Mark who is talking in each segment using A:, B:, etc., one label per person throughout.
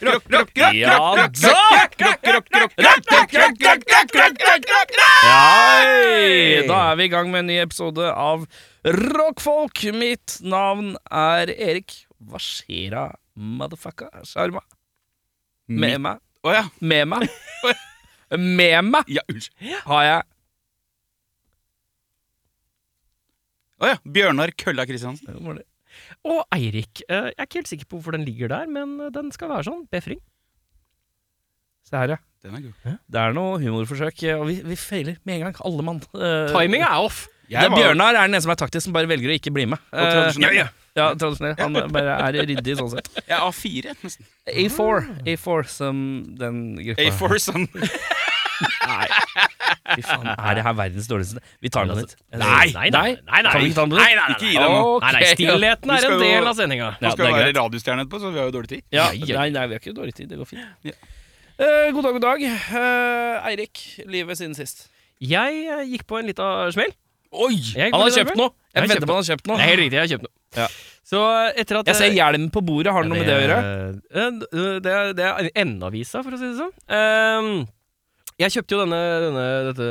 A: Ja Hei! Da er vi i gang med en ny episode av Rockfolk. Mitt navn er Erik. Hva skjer'a, motherfucka? Sjarma. Med meg.
B: Å ja.
A: Med meg. Med meg
B: ja. Unnskyld.
A: har jeg
B: Å ja. Bjørnar Kølla Kristiansen.
A: Hvor var det?
C: Og Eirik. Eh, Jeg er ikke helt sikker på hvorfor den ligger der, men eh, den skal være sånn. Befring.
A: Se her, ja.
B: Den er god.
A: Det er noe humorforsøk, eh, og vi, vi feiler med en gang. Alle mann. Eh,
C: Timinga er off!
A: det er Bjørnar er den eneste som er taktisk, som bare velger å ikke bli med.
B: Og tradisjonell.
A: Eh, ja, tradisjonell. Han eh, bare er ryddig sånn sett.
B: Jeg er A4, nesten.
A: A4, A4 som den gruppa
B: A4 sånn.
A: Fy faen, er det her verdens dårligste Vi tar den på nytt.
C: Nei, nei, nei. nei, nei.
A: Kan vi ikke ta den på nytt?
B: Ikke gi deg nå.
A: Ok.
C: Nei, nei, Stillheten
B: Vi
C: er
B: skal
C: en
B: jo-
C: del av sendinga.
B: Vi
A: Ja,
B: skal
A: det
B: jo
A: er
B: være
A: greit.
B: radiostjerne etterpå, så vi har jo dårlig tid.
A: Ja,
C: Nei, ja.
A: nei, nei, vi har ikke dårlig tid. Det går fint.
B: Ja.
A: Eh, god dag, god dag. Eh, Eirik, livet siden sist.
C: Jeg eh, gikk på en lita smell.
B: Oi!
C: Jeg gikk
A: Han
C: på
A: har
C: en liten
A: kjøpt
C: smell.
A: noe! Jeg
C: Han har
A: venter på han har kjøpt
C: Det er
A: noe.
C: helt riktig, jeg har kjøpt noe.
A: Ja.
C: Så eh, etter at Eh,
A: Jeg ser hjelmen på bordet. Har det noe med det å gjøre?
C: gjøre? Det, er- det er endeavisa, for å si det sånn. Ehm, jeg kjøpte jo denne, denne dette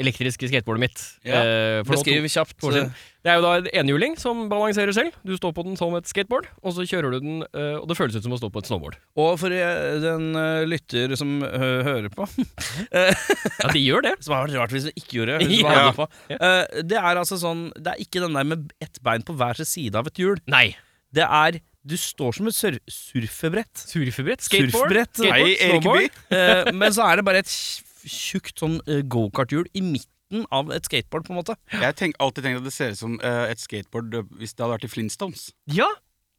C: elektriske skateboardet mitt.
B: Ja.
C: eh, for nå to-
A: Beskriv kjapt. eh,
C: to år siden. Det er jo da en enhjuling som balanserer selv. Du står på den som et skateboard, og så kjører du den, eh, og det føles ut som å stå på et snowboard.
A: Og for eh, den eh, lytter som eh, hører på, eh,
C: Ja, de gjør det.
A: som har vært rart hvis du ikke gjorde hvis
C: Ja.
A: du bare hadde på. Eh, det er altså sånn Det er ikke den der med ett bein på hver sin side av et hjul.
C: Nei.
A: Det er Du står som et sur surfebrett.
C: Surfebrett, skateboard.
A: Surfbrett.
C: skateboard,
B: Nei, Erik
C: snowboard.
B: By.
A: Eh, men så er det bare et tj- tjukt sånn eh, gokarthjul i midten av et skateboard, på en måte.
B: Jeg tenk, alltid tenkt at det ser ut som eh, et skateboard eh, hvis det hadde vært i Flintstones.
C: Ja.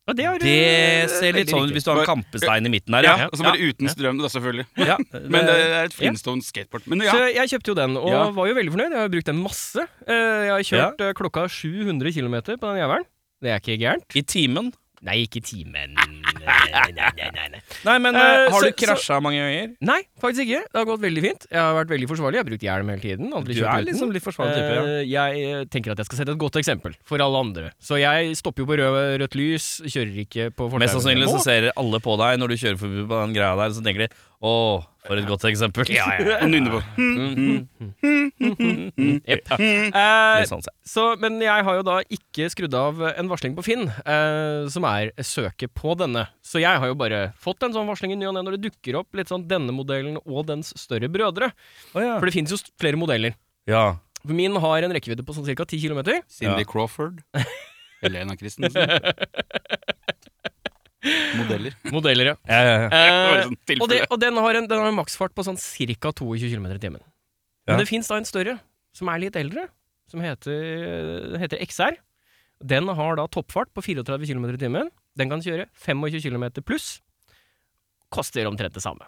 C: ja, det har du-
A: Det ser
C: veldig
A: litt sånn ut
C: riktig.
A: hvis du har en kampestein i midten her, ja.
B: Ja, Og så bare uten strøm, da, selvfølgelig.
A: ja.
B: Men eh, det er et Flintstones-skateboard. Men ja.
C: Så jeg kjøpte jo den, og
B: Ja.
C: var jo veldig fornøyd. Jeg har brukt den masse. Eh, Jeg har kjørt eh, klokka 700 km på den jævelen. Det er ikke gærent.
A: I timen.
C: Nei, ikke timen. Nei, nei, nei, nei.
A: Nei, men
C: Eh,
A: eh, har
C: så-
A: du krasja mange ganger?
C: nei, faktisk ikke. Det har gått veldig fint. Jeg har vært veldig forsvarlig. Jeg har brukt hjelm hele tiden. aldri
A: Du
C: kjørt
A: er
C: uten.
A: liksom litt forsvarlig type, ja.
C: Eh, Jeg eh, tenker at jeg skal sette et godt eksempel for alle andre. Så jeg stopper jo på rød, rødt lys, kjører ikke på fortauet.
A: Mest sannsynlig så
C: Nå.
A: ser alle på deg når du kjører forbi på den greia der, så tenker de å, for et godt eksempel.
C: Ja, ja,
B: Og nynne på.
C: ja. Eh,
A: Litt sånn, så.
C: så, men jeg har jo da ikke skrudd av en varsling på Finn, eh, som er søket på denne. Så jeg har jo bare fått en sånn varsling i ny og ne når det dukker opp litt sånn denne modellen og dens større brødre. For det finnes jo st- flere modeller.
A: ja.
C: For Min har en rekkevidde på sånn ca. 10 km.
B: Cindy
A: Ja.
B: Crawford. Helena Christensen. Modeller.
C: Modeller, ja.
A: Ja, ja, ja.
B: Bare
C: Eh,
B: sånn
C: og det,
B: tilfelle.
C: og den har en, den har en maksfart på sånn ca. 22 km i timen.
A: Ja.
C: Men det fins da en større, som er litt eldre, som heter, den heter XR. Den har da toppfart på 34 km i timen. Den kan kjøre 25 km pluss. Koster omtrent det samme.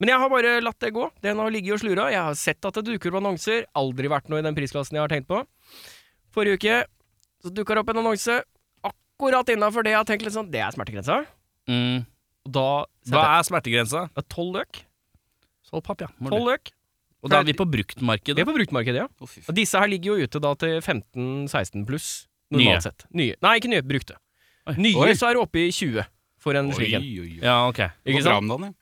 C: Men jeg har bare latt det gå. Den har ligget og slura. Jeg har sett at det dukker opp annonser. Aldri vært noe i den prisklassen jeg har tenkt på. Forrige uke så dukka det opp en annonse akkurat innafor det jeg har tenkt litt sånn Det er smertegrensa.
A: Mm.
C: Og da
A: Hva
C: setter
A: er smertegrensa?
C: jeg tolv løk.
A: Solg papp, ja. Må du.
C: 12 løk.
A: Og da er vi på bruktmarkedet.
C: Det er på bruktmarkedet, ja.
B: Å, fy faen.
C: Og disse her ligger jo ute da til 15-16 pluss,
A: Nye.
C: normalt sett. Nye. Nei, ikke nye, brukte. Nye
B: Oi.
C: så er det oppe i 20 for en
B: Oi,
C: slik en.
B: oi, oi.
A: Ja, ok.
C: Ikke
B: Går bra
C: sant?
B: med den, ja.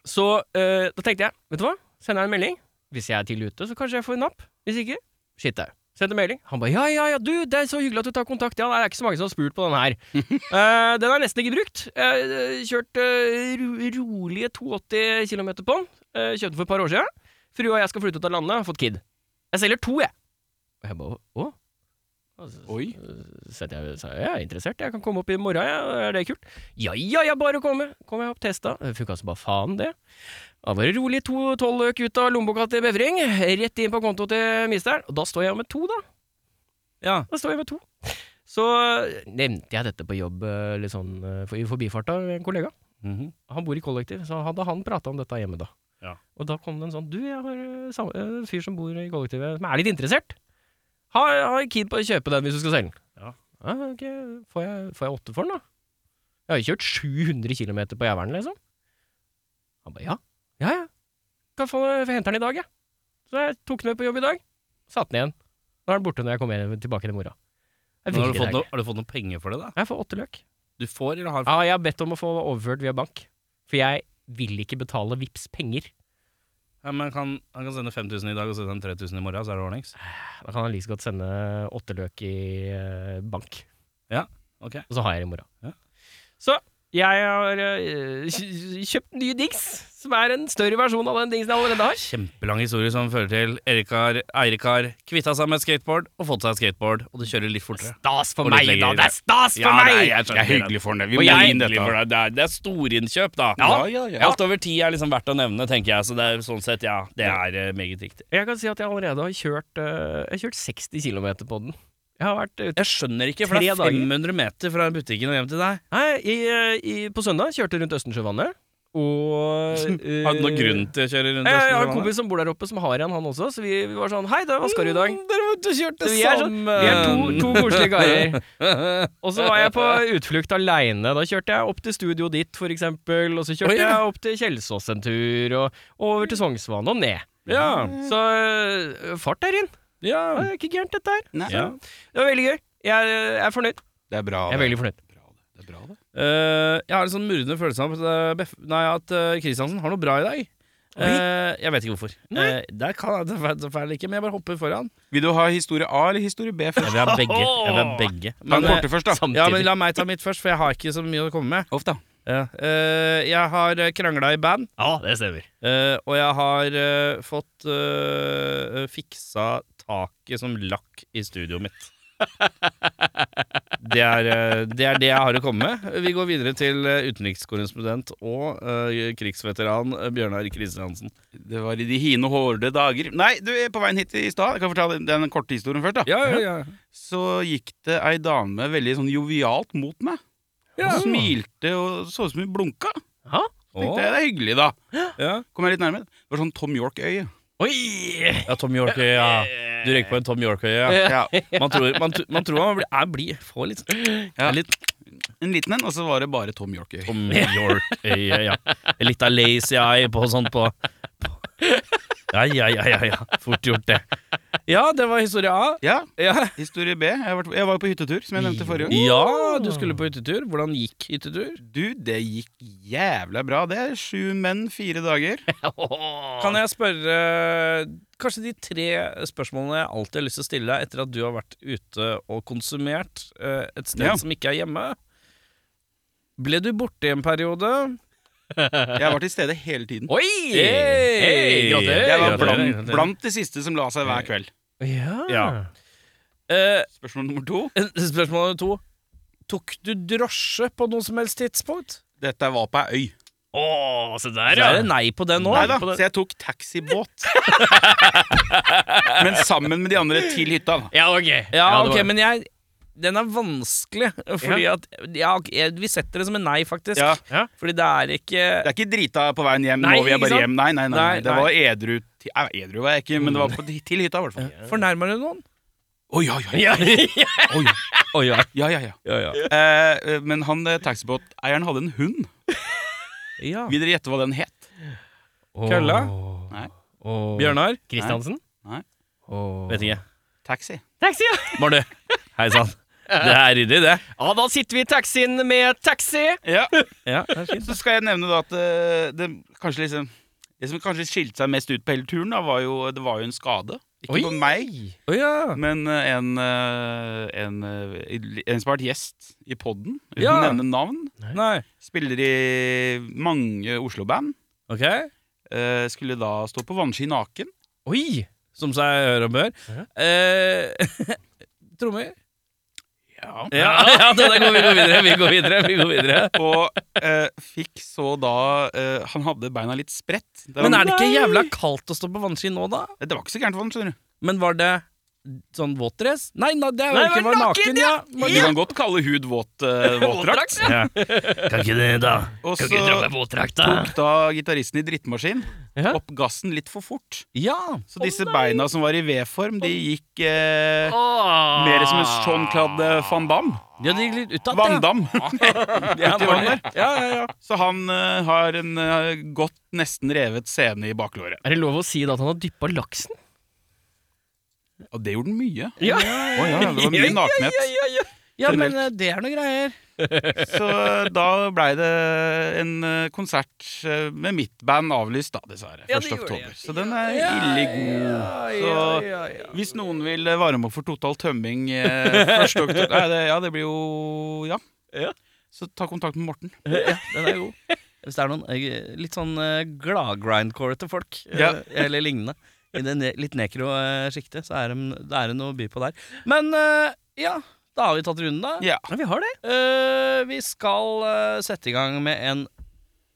C: Så eh, da tenkte jeg, vet du hva, sender jeg en melding. Hvis jeg er tidlig ute, så kanskje jeg får en napp. Hvis ikke, shit au. Sendte melding. Han bare ja, ja, ja, du, det er så hyggelig at du tar kontakt. Ja, det er ikke så mange som har spurt på den her. Eh, den er nesten ikke brukt. Jeg kjørt eh, ro rolige 280 km på den. Eh, kjøpte den for et par år siden. Frua og jeg skal flytte ut av landet, har fått kid. Jeg selger to, jeg. Og jeg bare å? Altså,
B: Oi.
C: setter jeg, sa jeg, jeg er interessert, jeg kan komme opp i morgen, jeg. er det kult? Ja, ja, ja, bare komme. Kom jeg opp, testa. Funka som altså bare faen, det. Da var det rolig to tolv løk ut av lommeboka til Bevring, rett inn på konto til misteren. Og da står jeg med to, da.
A: Ja.
C: Da står jeg med to. Så nevnte jeg dette på jobb eh, litt sånn eh, for- i forbifarta med en kollega.
A: Mhm.
C: Han bor i kollektiv, så hadde han prata om dette hjemme da.
A: Ja.
C: Og da kom det en sånn Du, jeg har eh, sam- eh, en fyr som bor i kollektivet, som er litt interessert. Ha, ha en kid på å kjøpe den hvis du skal selge den.
A: Ja.
C: ok, får jeg, får jeg åtte for den, da? Jeg har jo kjørt 700 km på jævelen, liksom. Han bare ja. Ja, ja. Kan få, få hente den i dag, jeg. Så jeg tok den med på jobb i dag. Satte den igjen. Nå er den borte når jeg kommer hjem- tilbake til mora. Det er
A: Men har, du
C: veldig
A: fått
C: deilig.
A: noe, har du fått noen penger for det, da?
C: Jeg får åtte løk.
A: Du får eller har
C: Ja, Ah, jeg har bedt om å få overført via bank. For jeg vil ikke betale vips penger.
A: ja, men kan, Han kan sende 5000 i dag og så sender han 3000 i morgen, så er det ordnings.
C: Da kan han like så godt sende åtte løk i eh, bank.
A: Ok.
C: Og så har jeg det i morgen.
A: Ja.
C: Så jeg har eh, kj- kjøpt nye dings, som er en større versjon av den dingsen jeg allerede har.
A: Kjempelang historie som fører til Erik har, Eirik har kvitta seg med et skateboard og fått seg et skateboard, og det kjører litt fortere.
C: Stas for
A: Og litt
C: meg, da!
A: lenger.
C: Det er stas for
A: Ja,
C: meg!
A: nei, jeg
B: Det er hyggelig for ham, det. Vi
A: Og
B: må
A: jeg er
B: inn
A: egentlig
B: dette.
A: for deg. Det er, det er storinnkjøp, da.
B: Ja, ja, ja.
A: Alt over ti er liksom verdt å nevne, tenker jeg. Så det er sånn sett, ja. Det er eh, meget riktig.
C: Jeg kan si at jeg allerede har kjørt, eh, jeg har kjørt 60 km på den. Jeg har vært ute
A: Jeg skjønner ikke, for det er
C: Tre dager.
A: 500 meter fra butikken og hjem til deg.
C: Nei, i, eh, i, på søndag kjørte jeg rundt Østensjøvannet. Og eh,
A: Har du noen grunn til å kjøre rundt
C: Jeg, jeg har en
A: Østensjøvannet?
C: kompis som bor der oppe, som har en, han også. Så vi, vi var sånn Hei, da, hva skal du i dag?
A: Mm, Dere måtte kjørt det
C: Så vi er så-
A: sammen.
C: Vi er to, to koselige karer. Og så var jeg på utflukt aleine. Da kjørte jeg opp til studio ditt, for eksempel. Og så kjørte
A: Å, ja.
C: jeg opp til Kjelsås en tur, og over til Sognsvann og ned.
A: Ja.
C: Så øh, fart der inn.
A: ja.
C: Det er ikke gærent, dette her.
B: Nei,
A: ja.
C: Det var veldig gøy. Jeg, jeg er fornøyd.
B: Det er bra.
C: Jeg er
B: det.
C: veldig fornøyd.
B: Bra, det. Det er bra, det.
A: Eh, jeg har en sånn murrende følelse av at, eh, Beff nei, at eh, Kristiansen har noe bra i dag. Eh, jeg vet ikke hvorfor.
C: Nei.
A: Eh, det kan jeg dessverre ikke, men jeg bare hopper foran.
B: Vil du ha historie A eller historie B
A: Jeg
B: først?
A: vil ha begge. Jeg vil ha begge.
B: Ta
A: Men,
B: den
A: eh,
B: korte først, da.
C: Samtidig.
A: ja, men la meg ta mitt først, for jeg har ikke så mye å komme med.
B: Uff, da.
A: Ja. Eh, jeg har krangla i band,
C: ja, det stemmer.
A: eh, og jeg har eh, fått eh, fiksa taket som lakk i studioet mitt. Det er, eh, det er det jeg har å komme med. Vi går videre til eh, utenrikskorrespondent og eh, krigsveteran eh, Bjørnar Kristiansen.
B: Det var i de hine og hårde dager. Nei, du er på veien hit i stad. Jeg kan fortelle den korte historien først, da.
A: Ja, ja, ja.
B: Så gikk det ei dame veldig sånn jovialt mot meg.
A: Ja.
B: Hun Smilte og så ut som hun blunka.
C: Ja.
B: Tenkte jeg, det er hyggelig, da.
A: ja.
B: Kom jeg litt nærmere. Det var sånn Tom York-øye.
C: Oi!
A: ja Tom Yorkøye, ja. Du røyker på en Tom Yorkøye. Ja.
B: Ja.
A: Man tror man, tr- man, tror man blir, er, blir, får litt, sånn-
B: Ja.
A: er litt
B: En liten en, og så var det bare Tom York-øye.
A: Tom York-øye, ja. Litt av lazy eye på sånn på, på. Ja, ja, ja, ja, ja. Fort gjort, det. Ja, det var historie A.
B: Ja,
A: Ja.
B: historie B. Jeg var, jeg var jo på hyttetur, som jeg nevnte forrige gang.
A: ja, du skulle på hyttetur. Hvordan gikk hyttetur?
B: Du, det gikk jævla bra. Det er sju menn, fire dager.
A: Kan jeg spørre kanskje de tre spørsmålene jeg alltid har lyst til å stille deg etter at du har vært ute og konsumert eh, et sted
B: Ja.
A: som ikke er hjemme? Ble du borte i en periode?
B: Jeg var til stede hele tiden.
C: Oi! Hey, gratulerer.
B: Jeg var
A: Gratulerer,
B: blant,
A: gratulerer.
B: blant de siste som la seg hver kveld.
C: Ja.
A: Ja. Eh,
B: Spørsmål nummer to.
A: spørsmål nummer to. Tok du drosje på noe som helst tidspunkt?
B: Dette var på ei øy.
C: Å, se der,
A: Så
C: ja.
A: er det nei på det nå.
B: Nei da,
A: På
B: så
A: det.
B: jeg tok taxibåt. Men sammen med de andre til hytta. da
C: Ja, ok.
A: Ja,
C: det
A: ok,
C: var-
A: men jeg Den er vanskelig, fordi at ja, ok, jeg- Vi setter det som en nei, faktisk.
B: Ja.
C: Ja.
A: Fordi det er ikke
B: Det er ikke drita på veien hjem.
A: Nei,
B: nå vil jeg
A: ikke
B: bare
A: sant?
B: hjem Nei, nei, nei,
A: Nei,
B: Det
A: nei.
B: var edru til, nei, Edru var jeg ikke, men det var på, til hytta, i hvert fall.
A: Fornærmer du noen?
B: Oi, oi, oi.
C: ja,
B: oi.
A: Å ja.
B: Ja, ja, ja.
A: Ja, ja.
B: Eh, eh, men han eh, taxibåteieren hadde en hund.
A: ja.
B: Vil dere gjette hva den het?
A: Kølla?
B: Nei.
C: Åh.
A: Bjørnar?
C: Kristiansen?
B: Nei.
C: Åh.
A: Vet ikke.
B: Taxi.
C: Taxi, ja.
A: Bardu. Hei sann. Det er ryddig, det.
C: Ja, da sitter vi i taxien med taxi.
B: Ja,
A: Ja, det er fint.
B: Så skal jeg nevne da at eh, det kanskje liksom det som kanskje skilte seg mest ut på hele turen, da, var jo, det var jo en skade. Ikke
C: Oi.
B: på meg,
A: Å ja.
B: men eh, en, eh, en, eh, en som har vært gjest i podden, uten å
A: Ja.
B: nevne navn.
A: Nei.
B: Spiller i mange Oslo-band.
A: Ok.
B: eh, skulle da stå på vannski naken.
C: Oi!
A: Som seg hør og bør. Eh, Trommer?
B: Ja.
A: Ja, ja det der går vi går videre. Vi går videre. Vi går videre.
B: Og eh, fikk så da eh, Han hadde beina litt spredt. Der
A: Men
B: han-
A: er det ikke jævla kaldt å stå på vannski nå, da?
B: Det var ikke så gærent for han, skjønner du.
A: Men var det sånn våtdress? Nei, na, det er jo
C: Nei,
A: ikke
C: var
A: var
C: naken,
A: naken, ja!
B: Men du kan godt kalle hud våt eh, våtdrakt.
A: Kan ikke det, da.
B: Og så
C: våtdrakt,
B: tok da gitaristen i drittmaskin
C: Ja.
B: opp gassen litt for fort.
A: Ja.
B: Så disse beina som var i V-form, de gikk eh, mer som en
A: Ah.
B: Jean-Claude van Damme.
A: ja, det gikk litt utad, ja.
B: Van Damme.
A: Ja,
B: Uti
A: var det.
B: vannet.
A: ja, ja, ja.
B: Så han eh, har en eh, godt nesten revet sene i baklåret.
C: Er det lov å si da at han har dyppa laksen?
B: Og det gjorde den mye.
C: Ja.
B: Å ja, det var mye nakenhet.
C: Ja, ja, ja.
A: Ja, men
B: Generelt.
A: eh, det er noe greier.
B: Så da blei det en eh, konsert eh, med mitt band avlyst, da, dessverre. 1.
C: Ja, det gjorde
B: oktober.
C: det.
B: Så den er ille god. Så- Hvis noen vil eh, varme opp for total tømming eh, 1. oktober Nei, det, Ja, det blir jo Ja.
C: Ja.
B: Så ta kontakt med Morten.
A: Ja, den er god. Hvis det er noen eh, litt sånn eh, glad-grindcore-ete folk, eh,
B: Ja.
A: eller lignende, i det ne litt nekro-sjiktet, så er det, det er det noe å by på der. Men eh, ja, da har vi tatt runden, da.
B: Ja.
C: Ja, vi har det.
A: Eh, vi skal eh, sette i gang med en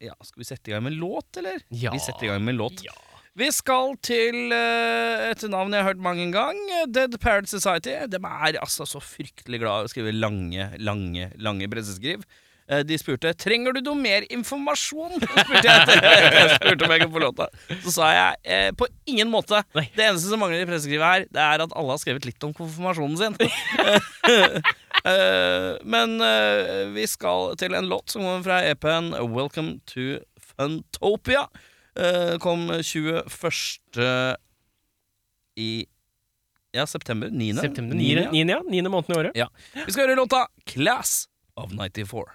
A: Ja, skal vi sette i gang med en låt, eller?
C: Ja.
A: Vi setter i gang med en låt.
C: Ja.
A: Vi skal til eh, et navn jeg har hørt mange ganger. Dead Parrot Society. De er altså så fryktelig glad i å skrive lange, lange, lange presseskriv. Eh, De spurte trenger du noe mer informasjon. spurte jeg etter jeg spurte om jeg kunne få låta. Så sa jeg eh, på ingen måte.
C: Nei.
A: Det eneste som mangler i presseskrivet her, det er at alle har skrevet litt om konfirmasjonen sin. Eh, men eh, vi skal til en låt som kommer fra EP-en Welcome to Funtopia. Eh, kom 21. i Ja, september. 9.
C: September 9. 9. Ja. 9. måneden i året.
A: Ja. Vi skal høre låta 'Class of 94'.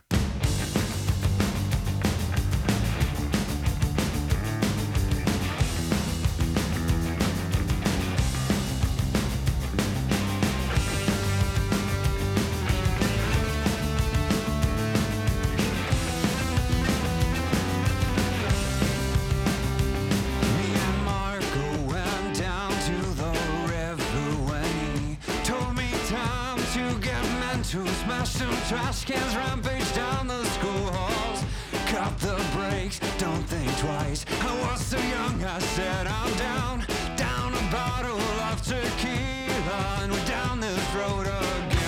D: Me and Marco went down to the river when he told me time to get mental. Smashed some trash cans, rampage down the school halls. Cut the brakes, don't think twice. I was so young, I said I'm down, down a bottle of tequila, and we're down this road again.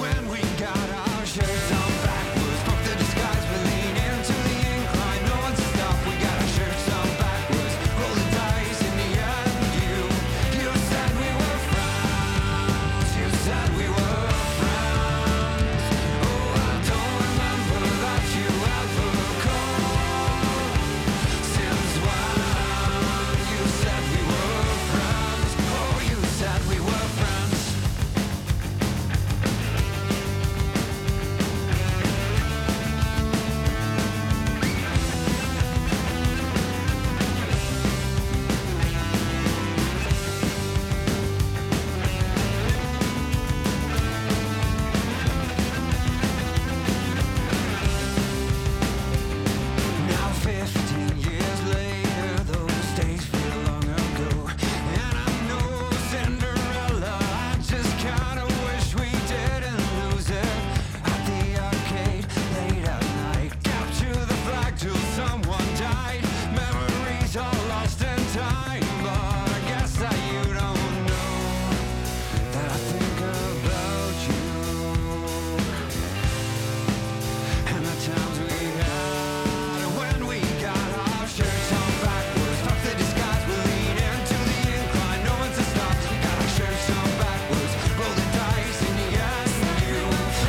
D: When we got our shirts on backwards, fuck the disguise, we're leaning to the incline. No one's to stop, we got our shirts on backwards. Roll the dice in the end, you, you said we were friends. You said we were friends. Oh, I don't remember that you ever called. Since when you said we were friends. Oh, you said we were friends. Now 15 years later, those days feel long ago. And I know Cinderella, I just kinda wish we didn't lose it. At the arcade, late at night, capture the flag till someone died. Memories are lost in time, but I guess that you don't know that I think about you. And the times we had when we got our shirts on backwards. Fuck the disguise, we're leaning to the incline. No one's to stop. We got our shirts on backwards. Roll the dice in the ass and you.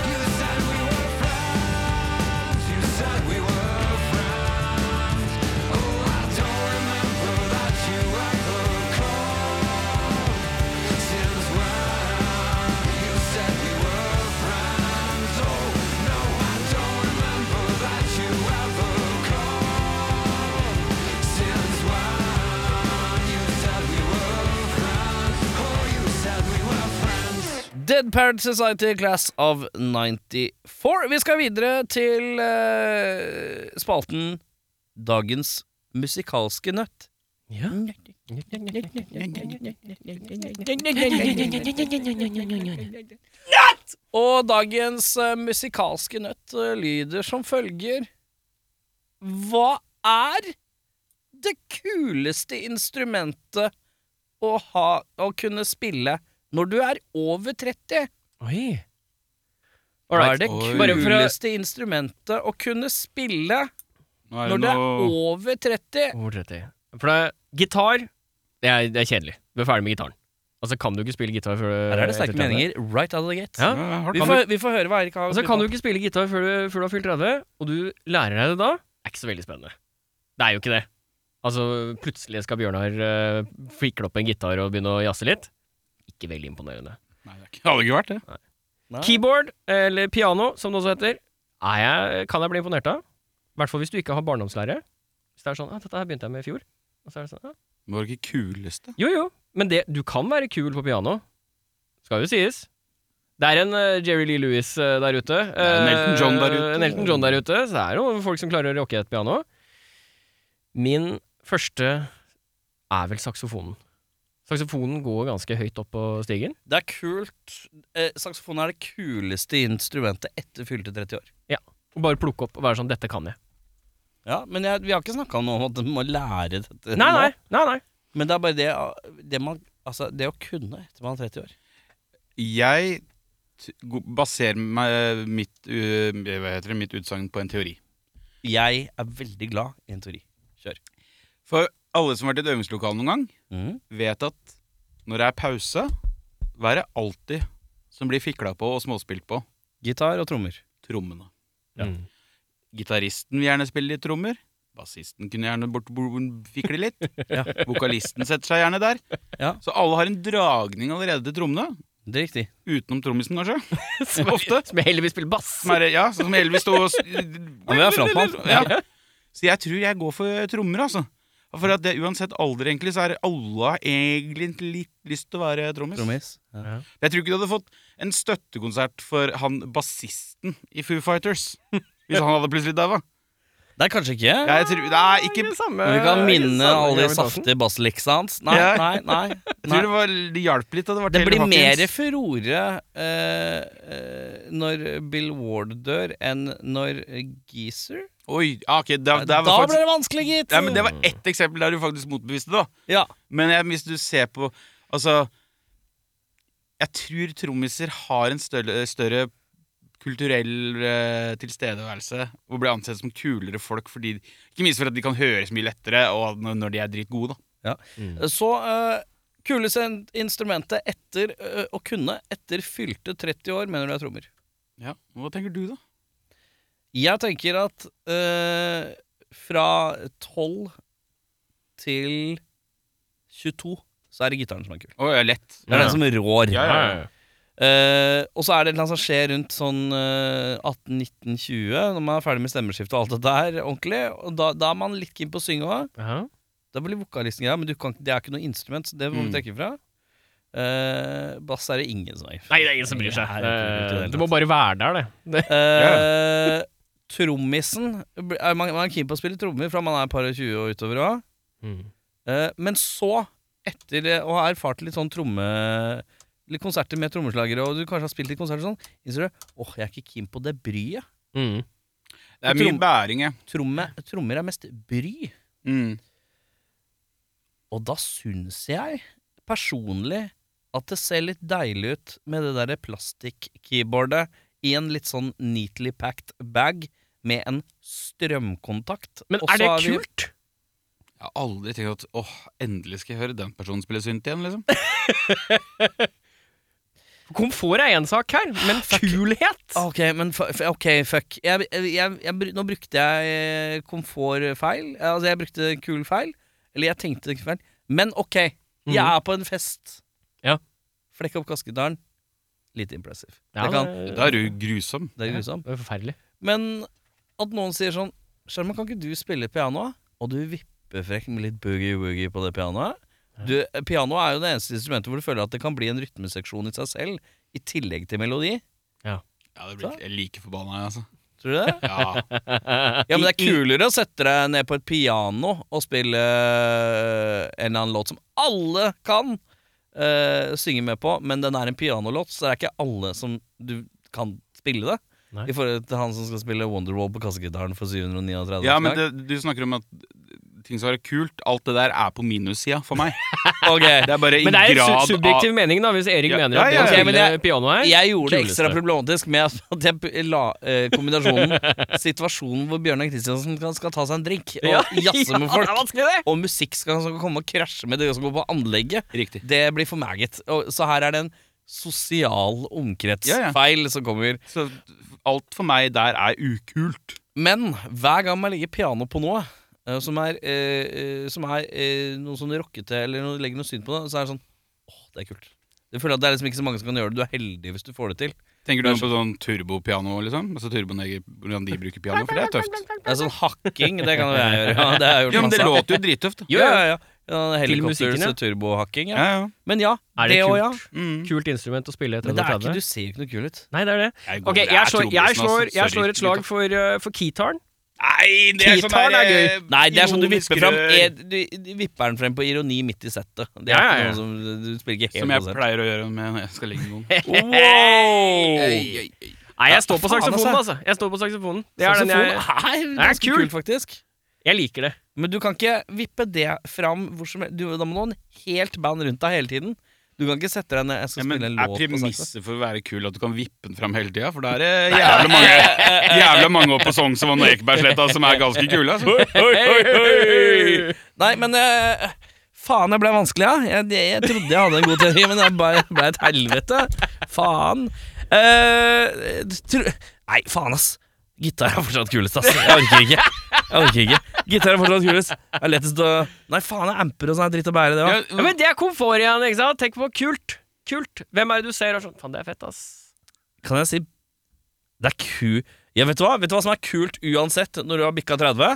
D: You said we were friends. You said we were friends. Oh, I don't remember that you ever called. Since when you said we were friends. Oh, no, I don't remember that you ever called. Since when you said we were friends. Oh, you said we were friends.
A: Dead Parrot Society Class of 94. Vi skal videre til eh, spalten Dagens musikalske nøtt. Mm,
C: Ja.
A: Og dagens eh, musikalske nøtt eh, lyder som følger Hva er det kuleste instrumentet å, ha, å kunne spille når du er over 30?
C: Oi.
A: Hva er det
B: Oi.
C: Bare for å
A: kuleste instrumentet å kunne spille
B: Nå er det
A: når du er
B: noe
A: over 30?
C: Over 30. For det er gitar det er, det er kjedelig. Du er ferdig med gitaren. Altså, kan du ikke spille gitar før du
A: Her er det sterke
C: etter 30?
A: meninger right out of the gate.
C: Ja.
B: Ja, hardt.
A: Vi,
B: Kan du-
A: får, vi får høre hva Eirik har
C: Altså,
A: å
C: kan du
A: skryte av.
C: ikke spille gitar før du, før du har fylt 30, og du lærer deg det da, er ikke så veldig spennende. Det er jo ikke det. Altså, plutselig skal Bjørnar uh, flikle opp en gitar og begynne å jazze litt. Ikke veldig imponerende.
B: Nei, det er ikke- det hadde ikke vært det.
A: Nei.
C: Keyboard, eller piano, som det også heter, er jeg, kan jeg bli imponert av. I hvert fall hvis du ikke har barndomslære. Hvis det er sånn ah, 'Dette her begynte jeg med i fjor'. Og så er det sånn, ah.
B: Det var ikke kuleste.
C: Jo, jo, men det, du kan være kul på piano. Skal jo sies. Det er en eh, Jerry Lee Lewis eh, der ute.
B: er en Elton John der
C: Eh,
B: ute.
C: en Elton John der ute. Så det er noen folk som klarer å rocke et piano. Min første er vel saksofonen. Saksofonen går ganske høyt opp på stigen.
A: Det er kult. Eh, saksofonen er det kuleste instrumentet etter fylte 30 år.
C: Og Bare plukke opp og være sånn 'Dette kan jeg'.
A: Ja, Men jeg, vi har ikke snakka om at man må lære dette.
C: Nei,
A: nå.
C: nei, nei, nei.
A: Men det er bare det, det, man, altså, det å kunne etter man er 30 år.
B: Jeg t- go- baserer meg mitt, uh, hva heter det, mitt utsagn på en teori.
A: Jeg er veldig glad i en teori.
B: For alle som har vært i et øvingslokale noen gang,
A: Mhm.
B: vet at når det er pause, hva er det alltid som blir fikla på og småspilt på?
A: Gitar og trommer.
B: Trommene.
C: Ja.
A: Mm.
B: Gitaristen vil gjerne spille litt trommer. Bassisten kunne gjerne bort, bort, fikle litt.
A: Ja.
B: Vokalisten setter seg gjerne der.
A: Ja.
B: Så alle har en dragning allerede til trommene.
A: Det er riktig.
B: Utenom trommisen, kanskje.
C: Som,
B: Ofte.
C: som jeg heller vil spille bass.
B: Som er, ja, sånn som Elvis sto og s-
A: men det er frontmann.
B: Ja. Så jeg tror jeg går for trommer, altså. For at det, uansett alder, egentlig, så er alle har egentlig litt lyst til å være trommis.
A: Trommis. Ja.
B: Jeg tror ikke du hadde fått en støttekonsert for han bassisten i Foo Fighters. Hvis han hadde plutselig daua.
A: Det er kanskje ikke
B: Ja, jeg tror- Nei, ikke
C: det samme,
A: Men vi kan minne alle de
C: Gravitasen.
A: saftige bassleksa hans. Nei,
B: Ja.
A: nei, nei.
B: Jeg
A: nei.
B: tror det, var, det hjalp litt. at Det, var
A: Det blir
B: Taylor
A: mer
B: Hawkins.
A: furore eh, eh, når Bill Ward dør, enn når Geezer
B: Oi, ja, ok, da,
A: Da
B: da var
A: ble
B: faktisk,
A: det sånn. vanskelig, gitt!
B: ja, men Det var ett eksempel der du faktisk motbeviste det. da.
A: Ja.
B: Men jeg, hvis du ser på Altså Jeg tror trommiser har en større, større kulturell eh, tilstedeværelse og blir ansett som kulere folk fordi Ikke minst for at de kan høres mye lettere og når, når de er dritgode, da.
A: Så eh, kuleste in- instrumentet etter eh, å kunne etter fylte 30 år, mener du er trommer?
B: Ja, Hva tenker du, da?
A: Jeg tenker at eh, fra 12 til 22 så er det gitaren som er kul.
B: Å, ja, lett.
A: Det er den som rår.
B: Ja, ja, ja.
A: Eh, og så er det noe som skjer rundt sånn eh, 18-19-20, når man er ferdig med stemmeskiftet og alt det der ordentlig. Og da, da er man litt keen på å synge òg.
C: Ja.
A: Da blir vokalisten greia, men du kan, ikke- det er ikke noe instrument, så det må
B: Mm.
A: vi trekke fra. Eh, bass er det ingen som er.
C: Nei, det er ingen som bryr seg.
A: Nei, det er ikke
C: Eh,
A: det.
C: Det må bare være der, det. det.
A: Eh, Trommisen bl- er man, man er keen på å spille trommer fra man er par og 20 og utover òg. Mm. men så, etter det, å ha erfart litt sånn tromme Litt konserter med trommeslagere, og du kanskje har spilt litt konserter og sånn, innser du åh, jeg er ikke keen på det bryet.
C: Mm.
B: Det er
A: Trom-
B: mye bæring, ja.
A: Tromme, trommer er mest bry.
B: Mm.
A: Og da syns jeg personlig at det ser litt deilig ut med det derre plastikk-keyboardet i en litt sånn neatly packed bag med en strømkontakt.
C: Men
A: Og så
C: er det
A: vi-
C: kult?
B: Jeg har aldri tenkt at åh, endelig skal jeg høre den personen spille synt igjen, liksom.
C: Komfort er én sak her, men kulhet
A: Ah, Ok, men fu- f ok, fuck. Jeg, jeg, jeg, jeg, bru- nå brukte jeg eh, komfortfeil. Eh, Altså, jeg brukte kul feil. Eller jeg tenkte feil. Men ok, jeg
C: Mhm.
A: er på en fest.
C: Ja.
A: Flekk opp kasketaren. Litt impressive.
C: Ja, eh,
A: det, kan,
B: Da er du grusom.
A: det er grusomt.
C: det er forferdelig.
A: Men at noen sier sånn Sjarmen, kan ikke du spille piano? Og du vipper frekk med litt boogie-woogie på det pianoet. Du, piano er jo det eneste instrumentet hvor du føler at det kan bli en rytmeseksjon i seg selv, i tillegg til melodi.
B: Ja, det blir, jeg er like forbanna, jeg, altså.
A: Tror du det?
B: Ja.
A: Ja, men
B: I-
A: det er kulere å sette deg ned på et piano og spille øh, en eller annen låt som alle kan øh, synge med på, men den er en pianolåt, så det er ikke alle som du kan spille det.
C: Nei.
A: I forhold til han som skal spille Wonderwall på kassegitaren for 739
B: Ja,
A: gang.
B: men det, du snakker om at ting som er kult, alt det der er på minussida for meg.
A: Ok,
B: Det er bare i
C: Men det er en
B: grad
C: su subjektiv mening, da, hvis Erik
B: Ja,
C: mener
B: ja, ja,
C: at det å
B: ja.
A: Men
C: spille
A: jeg-
C: piano er
A: Jeg gjorde det
C: kuleste.
A: ekstra problematisk med at- at jeg p- la eh, kombinasjonen situasjonen hvor Bjørnar Kristiansen kan- skal ta seg en drink og
C: Ja.
A: jazze med folk,
C: Ja, det er vanskelig, det!
A: og musikk skal, som kan komme og krasje med det som går på anlegget,
B: Riktig.
A: det blir for meget. Og, så her er det en
B: Ja,
A: sosial
B: ja.
A: omkretsfeil som kommer.
B: Så alt for meg der er ukult.
A: Men hver gang man legger piano på noe eh, som er, eh, eh, som er eh, noe sånn rockete, eller noe, legger noe syn på det, så er det sånn Åh, det er kult. Jeg føler at Det er liksom ikke så mange som kan gjøre det. Du er heldig hvis du får det til.
B: Tenker du nå på sånn turbopiano, liksom? Altså turboneger, hvordan de bruker piano? For det er tøft.
A: Det er sånn hakking, det kan jo jeg gjøre. Ja, det har jeg gjort
B: Ja, men det
A: masse av.
B: låter jo drittøft, da.
A: Jo, ja, ja. ja. ja
C: musikken,
A: Helikopters
C: ja.
A: og turbohakking. Ja.
B: Ja, ja.
A: Men ja,
C: Er det,
A: det òg, ja.
C: kult?
B: Mm.
C: Kult instrument å spille etter
A: Men det er ikke,
C: 130?
A: du ser jo ikke noe kul ut.
C: Nei, det er det.
B: Jeg går-
C: Ok,
B: det er
C: jeg slår,
B: trommisen,
C: jeg
B: altså.
C: slår, jeg
B: Sorry,
C: slår et slag for, uh, for keytaren.
B: Nei, det er sånn
C: Gitaren
B: der,
C: er gøy.
B: eh,
A: Nei, det er sånn du
B: ironisk
A: vipper frem
B: rør,
A: eh, du, du vipper den frem på ironi midt i settet. Det er
C: Ja, ja, ja.
A: ikke noe som Du spiller ikke helt
B: Som jeg
A: basert.
B: pleier å gjøre med når jeg skal ligge med noen.
C: Nei, jeg står på
A: faen,
C: saksofonen, altså.
A: altså.
C: Jeg står på saksofonen. Det er den
A: Saksofon
C: jeg,
A: er
C: er
A: ganske
C: kul.
A: kult, faktisk.
C: jeg liker det.
A: Men du kan ikke vippe det fram hvor som helst. Du, da må du ha en helt band rundt deg hele tiden. Du kan ikke sette deg ned Jeg skal
B: Ja, men
A: spille
B: er
A: en låt på saksa.
B: premisset for å være kul at du kan vippe den fram hele tida? For det er det jævla mange, jævla mange oppe på Sognsvann og Ekebergsletta som er ganske kule. Altså.
A: Nei, men eh, Faen, jeg ble vanskelig, ja. Jeg, jeg, jeg trodde jeg hadde en god teori, men jeg ble, ble et helvete. Faen. Eh, tro, nei, faen, ass. Gitar er fortsatt kulest, ass. Jeg orker ikke. Jeg orker ikke. Gitar er fortsatt kulest. Det er lettest å Nei, faen, det er amper og sånn er dritt å bære, det
B: Uh,
A: òg.
C: Ja, men det er komfort igjen, ikke sant? Tenk på kult. Kult. Hvem er det du ser og er sånn Faen, det er fett, ass.
A: Kan jeg si Det er ku... Ja, vet du hva Vet du hva som er kult uansett når du har bikka 30? En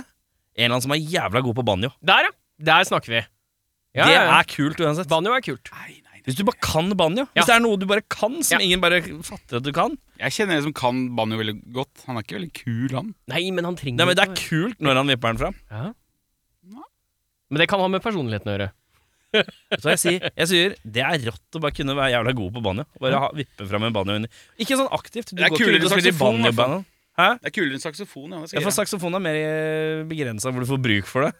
A: eller annen som er jævla god på banjo.
C: Der, ja. Der snakker vi. Ja,
A: det
C: ja, ja.
A: er kult uansett.
C: Banjo er kult.
A: Hvis du bare kan banjo.
C: Ja.
A: Hvis det er noe du bare kan, som
C: Ja.
A: ingen bare fatter at du kan.
B: Jeg kjenner en som kan banjo veldig godt. Han er ikke veldig kul, han.
C: Nei, men han trenger
A: Nei, men Det er
C: ikke å-
A: kult når han vipper den fram.
C: Ja. Men det kan ha med personligheten å gjøre.
A: Vet du hva jeg sier? Jeg sier det er rått å bare kunne være jævla god på banjo. Bare ha, vippe fram en banjo. under. Ikke sånn aktivt. Du
B: Det er
A: går ikke
B: kulere
A: ut og spiller
B: saksofon, i hvert fall.
A: banjo-banjo.
B: Det er kulere enn saksofon. Ja, det,
A: Ja,
B: skal
A: for
B: jeg.
A: saksofon er mer begrensa hvor du får bruk for det.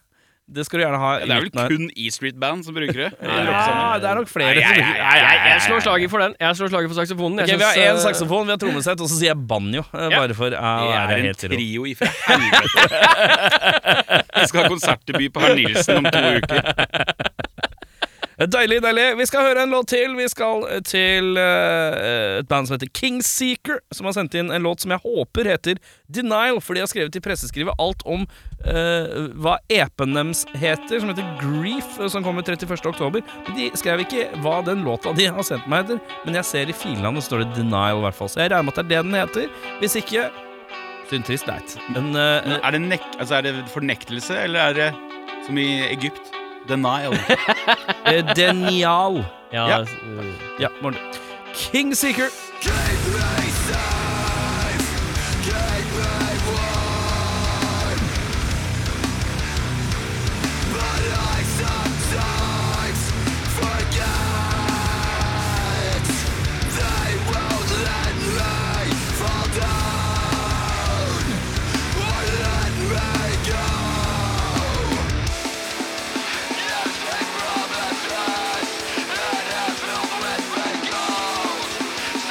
A: Det skal du gjerne ha.
B: Ja,
A: i
B: det er vel
A: midten her.
B: kun E Street Band som bruker det.
A: Ja, det er nok flere.
B: Nei, nei,
A: som-
B: nei, nei,
C: Jeg, jeg slår slaget for den. Jeg slår slaget for saksofonen. Jeg
A: Ok,
C: synes,
A: Vi har én
C: eh,
A: saksofon, vi har trommesett, og så sier jeg banjo. eh,
C: Ja.
A: Bare for ja,
B: Det
A: er
B: er en
A: helt rå.
B: trio ifra helvete. Jeg skal ha konsertdebut på Herr Nilsen om to uker.
A: Deilig, deilig. Vi skal høre en låt til. Vi skal eh, til eh, et band som heter Kingseeker, som har sendt inn en låt som jeg håper heter Denial, for de har skrevet i presseskrivet alt om eh, hva epen deres heter, som heter Grief, eh, som kommer 31. oktober. Men de skrev ikke hva den låta de har sendt meg heter, men jeg ser i filene det står det Denial, i hvert fall. Så jeg regner med at det er det den heter. Hvis ikke Synd trist, leit. Men eh,
B: Er det, nek altså, er det fornektelse, eller er det som i Egypt? Denial.
A: eh, Denial.
C: Ja,
B: Ja.
C: eh,
A: Ja, morgen. Kingseeker.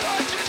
D: Such is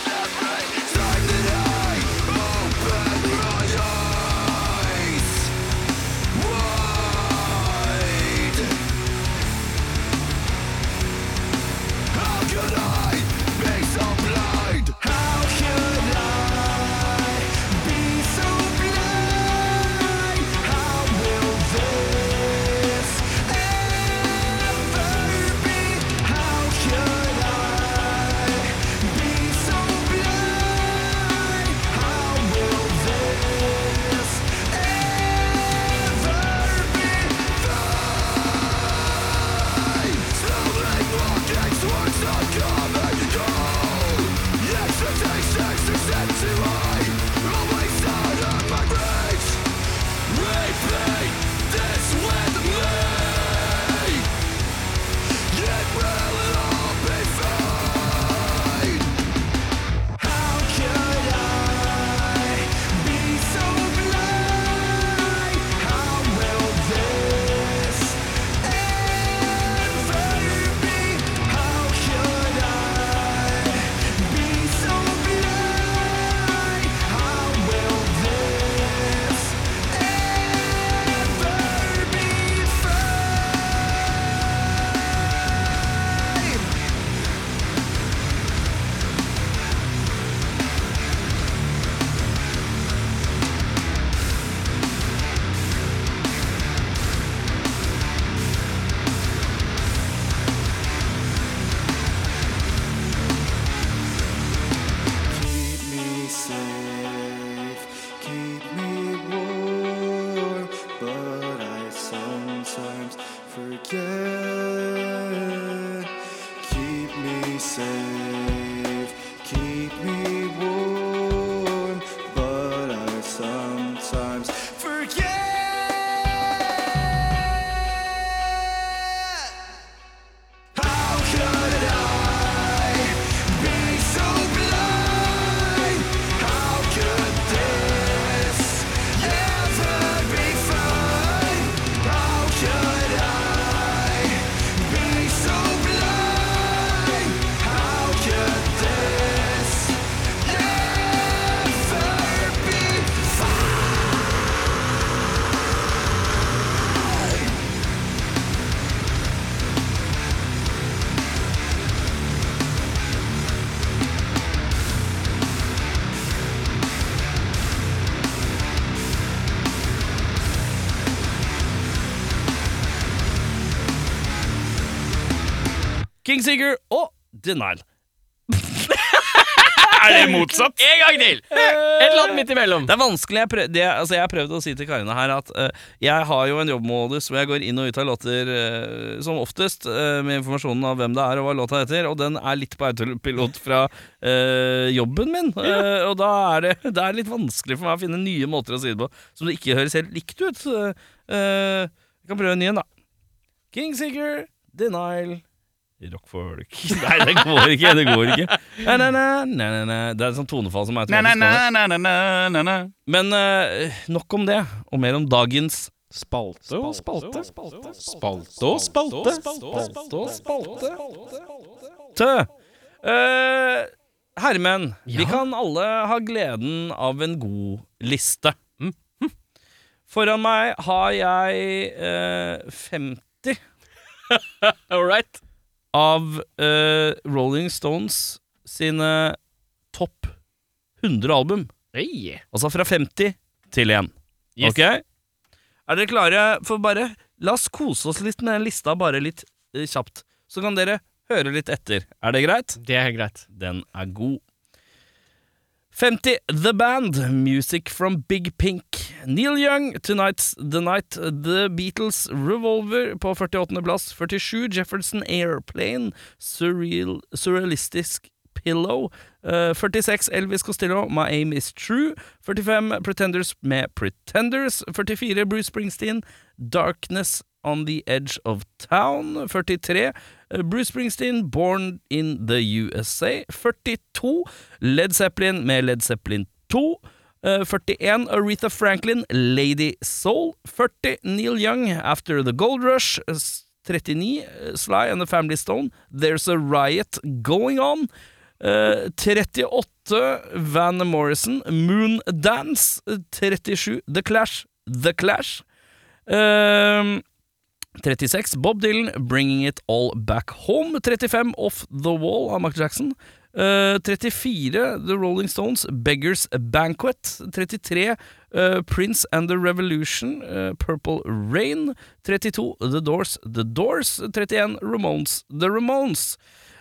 A: Kingseeker og Denial.
B: Er det motsatt?
C: En gang til! Et eller annet midt imellom.
A: Det er vanskelig. Jeg, prøv, det, altså jeg har prøvd å si til Karina her at eh, jeg har jo en jobbmodus hvor jeg går inn og ut av låter eh, som oftest eh, med informasjonen av hvem det er og hva låta heter, og den er litt på autopilot fra eh, jobben min. Eh, og da er det, det er litt vanskelig for meg å finne nye måter å si det på som det ikke høres helt likt ut. Så, eh, vi kan prøve en ny en, da. Kingseeker, Denial Rockfolk. Nei, det går ikke. Det går ikke. Na, na, na, na, na, na. Det er en sånn tonefall som er
B: Na, na,
A: automatisk.
B: na, na, na, na, na, na.
A: Men eh, nok om det, og mer om dagens
E: Spalte og spalte.
B: Spalte og spalte.
E: Spalte og spalte.
A: tø. Eh, herremenn, vi
C: Ja.
A: kan alle ha gleden av en god liste. Foran meg har jeg eh, 50
C: All right.
A: av eh, Rolling Stones sine topp 100 album.
C: Hey.
A: Altså fra 50 til 1.
C: Yes.
A: Ok? Er dere klare? For bare La oss kose oss litt med den lista, bare litt eh, kjapt. Så kan dere høre litt etter. Er det greit?
C: Det er helt greit.
A: Den er god. 50 The Band, Music from Big Pink. Neil Young, Tonight's The Night. The Beatles, Revolver på 48. plass. 47 Jefferson Airplane, Surreal, Surrealistisk Pillow. Eh, 46 Elvis Costello, My Aim Is True. 45 Pretenders med Pretenders. 44 Bruce Springsteen, Darkness On The Edge Of Town. 43 eh, Bruce Springsteen, Born In The USA. 42 Led Zeppelin med Led Zeppelin 2. Eh, 41 Aretha Franklin, Lady Soul. 40 Neil Young, After The Gold Rush. Eh, S- 39 eh, Sly and The Family Stone, There's A Riot Going On. Eh, 38 Van Morrison, Moondance. 37 The Clash, The Clash. Ehm, 36 Bob Dylan, Bringing It All Back Home. 35 Off The Wall av Michael Jackson. Eh, 34 The Rolling Stones, Beggars Banquet. 33 eh, Prince and the Revolution, eh, Purple Rain. 32 The Doors, The Doors. 31 Ramones, The Ramones.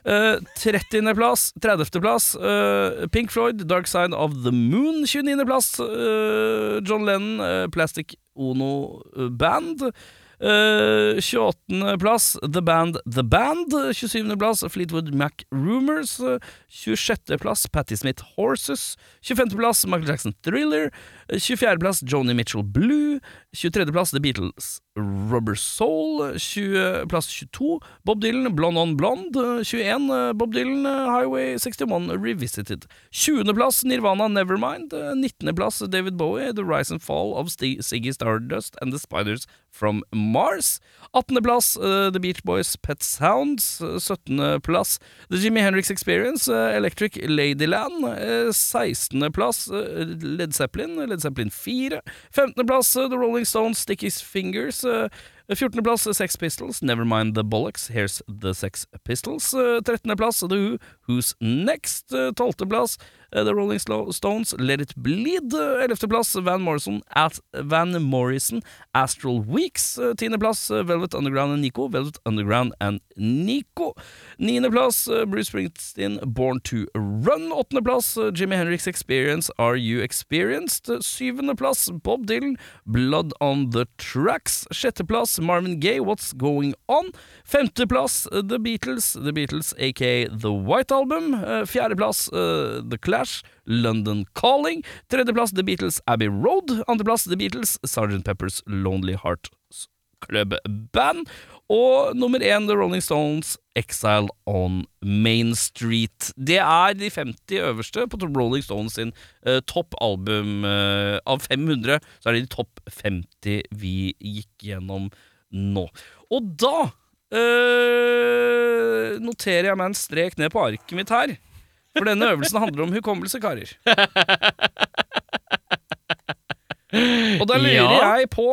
A: Eh, 30. plass, 30. plass eh, Pink Floyd, Dark Side of the Moon. 29. plass eh, John Lennon, eh, Plastic Ono eh, Band. Eh, 28. plass The Band The Band. 27. plass Fleetwood Mac Rumors. Eh, 26. plass Patti Smith Horses. 25. plass Michael Jackson Thriller. Eh, 24. plass Joni Mitchell Blue. 23. plass The Beatles Rubber Soul. 20. plass 22 Bob Dylan Blond on Blond. Eh, 21 eh, Bob Dylan eh, Highway 61 Revisited. 20. plass Nirvana Nevermind. Eh, 19. plass David Bowie The Rise and Fall of Sti- Ziggy Stardust and the Spiders from Mars. 18. plass eh, The Beach Boys Pet Sounds. Eh, 17. plass The Jimmy Hendrix Experience, eh, Electric Ladyland. eh, 16. plass eh, Led Zeppelin, Led Zeppelin 4. 15. plass eh, The Rolling Stones, Sticky's Fingers. eh, 14. plass eh, Sex Pistols, Nevermind the Bollocks, Here's the Sex Pistols. Eh, 13. plass The Who, Who's Next. Eh, 12. plass eh, The Rolling Slo- Stones, Let It Bleed. Eh, 11. plass Van Morrison, At Van Morrison, Astral Weeks. Eh, 10. plass eh, Velvet Underground and Nico, Velvet Underground and Nico. 9. plass eh, Bruce Springsteen, Born to Run. 8. plass eh, Jimi Henriks Experience, Are You Experienced? 7. plass Bob Dylan, Blood on the Tracks. 6. plass Marvin Gaye, What's Going On? 5. plass eh, The Beatles, The Beatles aka The White Album. 4. plass eh, The Clash, London Calling. 3. plass The Beatles, Abbey Road. 2. plass The Beatles, Sgt. Peppers Lonely Hearts Club Band. Og nummer én The Rolling Stones, Exile on Main Street. Det er de 50 øverste på Rolling Stones sin eh, topp album. eh, av 500 så er det de topp 50 vi gikk gjennom nå. Og da eh, noterer jeg meg en strek ned på arket mitt her. For denne øvelsen handler om hukommelse, karer. Og da lurer
C: Ja.
A: jeg på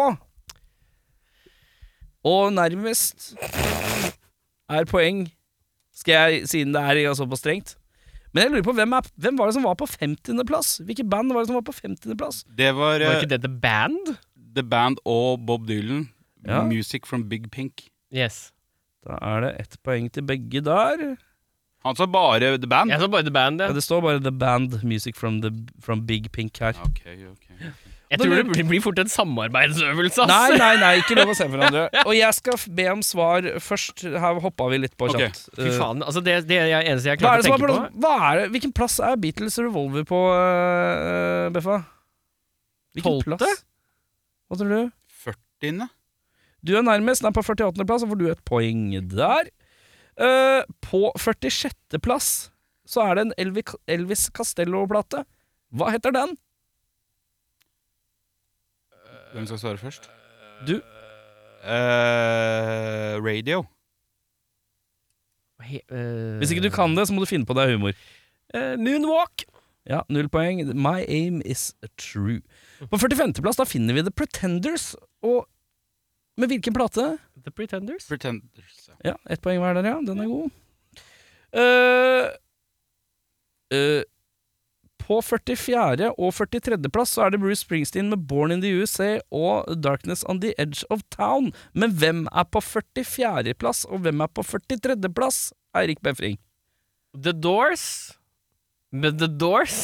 A: Og nærmest er poeng, skal jeg, siden det er såpass strengt. Men jeg lurer på hvem, er, hvem var det som var på 50. plass? Hvilket band var det som var på 50. plass?
B: Det var
C: Var
B: eh,
C: ikke det The Band?
B: The Band og Bob Dylan.
A: Ja.
B: Music from Big Pink.
C: Yes.
A: Da er det ett poeng til begge der.
B: Han sa Altså bare The Band?
C: Jeg så bare The Band.
A: Ja,
C: Jeg,
A: det står bare The Band Music from, the, from Big Pink her.
B: Ok, ok.
C: jeg tror det blir- blir fort en samarbeidsøvelse, altså. ass.
A: Nei, nei, nei, ikke lov å se hverandre. Og jeg skal f- be om svar først. Her hoppa vi litt på
B: Ok.
A: kjapt.
C: Fy
A: Eh,
C: faen. Altså, det, det er jeg- eneste jeg
A: Hva
C: klarte
A: er
C: å
A: det som er
C: tenke
A: plass,
C: på.
A: hva er det, Hvilken plass er Beatles Revolver på, eh, Beffa? Hvilken
C: Tolvte?
A: plass? Hva tror du?
B: 40.
A: Du er nærmest, den er på 48. plass, og får du et poeng der. Eh, på 46. plass så er det en Elvi- Elvis Castello-plate. Hva heter den?
B: Hvem skal svare først?
A: Du.
B: Eh, radio.
C: He- eh,
A: Hvis ikke du kan det, så må du finne på deg humor.
C: eh, Moonwalk.
A: Ja, null poeng. My aim is true. På 45. plass da finner vi The Pretenders, og med hvilken plate?
C: The Pretenders.
B: Pretenders.
A: Ja, ett poeng hver der, ja. Den er god. Eh, eh, på 44. og 43. plass så er det Bruce Springsteen med Born in the USA og Darkness on the Edge of Town. Men hvem er på 44. plass, og hvem er på 43. plass? Eirik Befring.
C: The Doors. Med The Doors.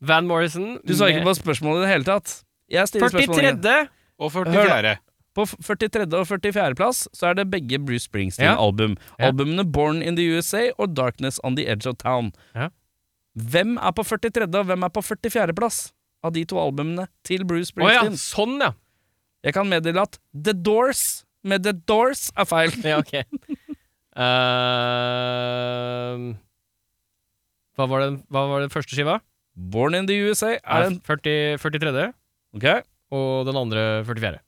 C: Van Morrison.
A: Du svarer
C: med-
A: ikke på spørsmålet i det hele tatt. Jeg stiller spørsmålet igjen.
C: 43.
B: Og 44.
A: På f- 43. og 44. plass så er det begge
C: Ja.
A: Bruce Springsteen-album.
C: Ja.
A: Albumene Born in the USA og Darkness on the Edge of Town.
C: Ja.
A: Hvem er på 43. og hvem er på 44. plass av de to albumene til Bruce
C: Å ja,
A: Springsteen?
C: sånn, ja.
A: Jeg kan meddele at The Doors med The Doors er feil.
C: Ja, ok. Eh, Ehm, hva, var den, hva var den første skiva?
A: Born in the USA er den
C: 40, 43.
A: Ok,
C: Og den andre 44.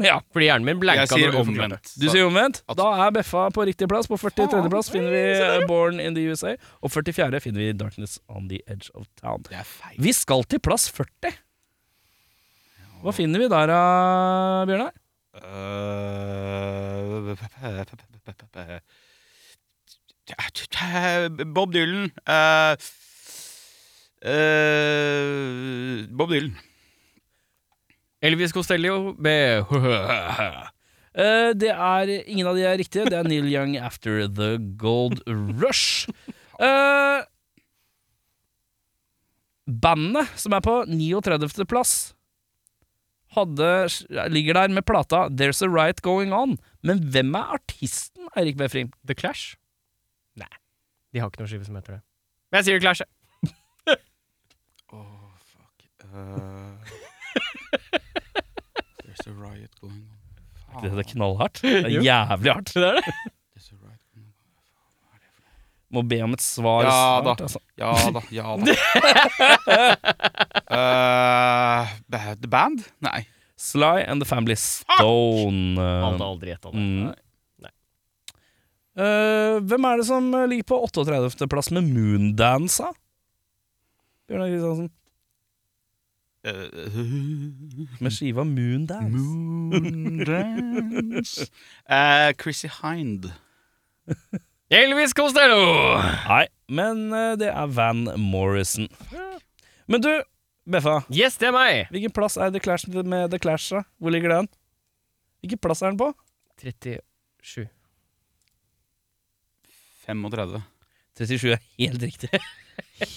A: ja.
C: Fordi hjernen min blanka.
B: Jeg sier
C: når du forklarte.
B: omvendt.
A: Du sier omvendt. Da er Beffa på riktig plass. På 43. plass finner vi eh, Born in the USA, og 44. finner vi Darkness on the Edge of Town.
B: Det er feil.
A: Vi skal til plass 40. Hva finner vi der, eh, Bjørnar?
B: Eh, Bob Dylan. eh, eh, Bob Dylan.
C: Elvis Costello med
A: Eh, det er Ingen av de er riktige. Det er Neil Young After The Gold Rush. Eh, bandet som er på 39. plass, hadde, ligger der med plata There's a Right Going On. Men hvem er artisten, Eirik Befrim?
C: The Clash? Nei, de har ikke noen skive som heter det. Men jeg sier The Clash. jeg.
B: Oh, fuck. Eh, there's a riot going on.
A: Det er knallhardt. Det er jævlig hardt.
B: There's a riot going on.
A: Må be om et svar
B: Ja da.
A: snart. Altså.
B: Ja da, ja da. Eh, ba- the Band? Nei.
A: Sly and the Family Stone.
C: Hadde aldri gjetta det.
A: Mm.
C: Nei.
A: Eh, hvem er det som eh, ligger på 38. plass med Moondance, da? Bjørnar Kristiansen.
B: Eh,
A: Med skiva Moondance.
B: Moondance Eh, Chrissy Hind.
C: Elvis Costello!
A: Nei, men eh, det er Van Morrison. Men du, Beffa.
C: Yes, det er meg!
A: Hvilken plass er The Clash med The Clash, da? Hvor ligger den? Hvilken plass er den på?
C: 37.
B: 35.
A: 37 er helt riktig.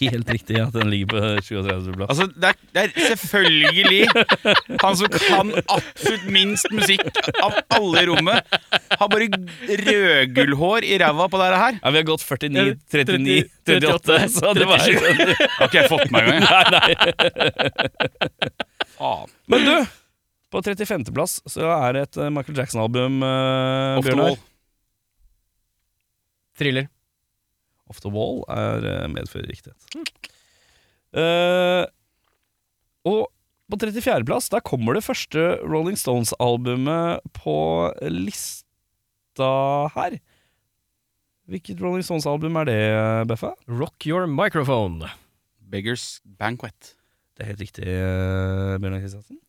A: Helt riktig at den ligger på 37. plass.
B: Altså, det er, det er selvfølgelig han som kan absolutt minst musikk av alle i rommet. Har bare rødgullhår i ræva på dette her.
A: Ja, Vi har gått 49, 39, 38, så det var sånn.
B: Har ikke jeg fått meg engang.
A: Nei, nei.
B: Faen.
A: Men du, på 35. plass så er det et eh, Michael Jackson-album, eh,
B: Off the
A: Bjørnar.
B: wall.
C: Thriller.
A: Off the Wall er eh, medfører riktighet. Eh, og på 34. plass, der kommer det første Rolling Stones-albumet på lista her. Hvilket Rolling Stones-album er det, Beffa?
C: Rock your microphone.
B: Beggars Banquet.
A: Det er helt riktig, eh, Bjørnar Kristiansen.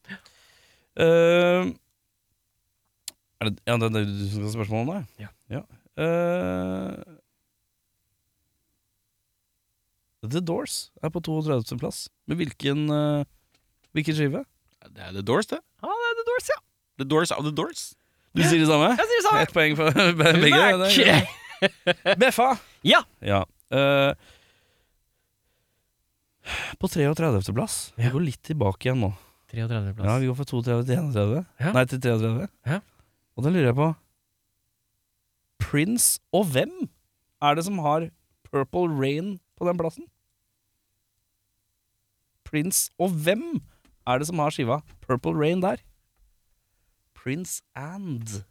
A: Eh, er det, ja, det er det du som skal ha spørsmål om det?
C: Ja.
A: Eh, The Doors er på 32. plass. Med hvilken, eh, hvilken skive?
B: Det er The Doors, det.
C: Ah, det er The Doors, ja.
B: The Doors of the Doors.
A: Du sier det samme?
C: Jeg sier det samme!
A: Ett poeng for begge. det er- Beffa.
C: Ja.
A: Ja. eh, på 33.-plass. Vi
C: Ja.
A: går litt tilbake igjen nå.
C: 33.
A: Ja,
C: plass.
A: Vi går fra 32 til 31.
C: Ja.
A: Nei, til 33.
C: Ja.
A: Og da lurer jeg på Prince og hvem er det som har Purple Rain på den plassen? Prince og hvem er det som har skiva Purple Rain der? Prince and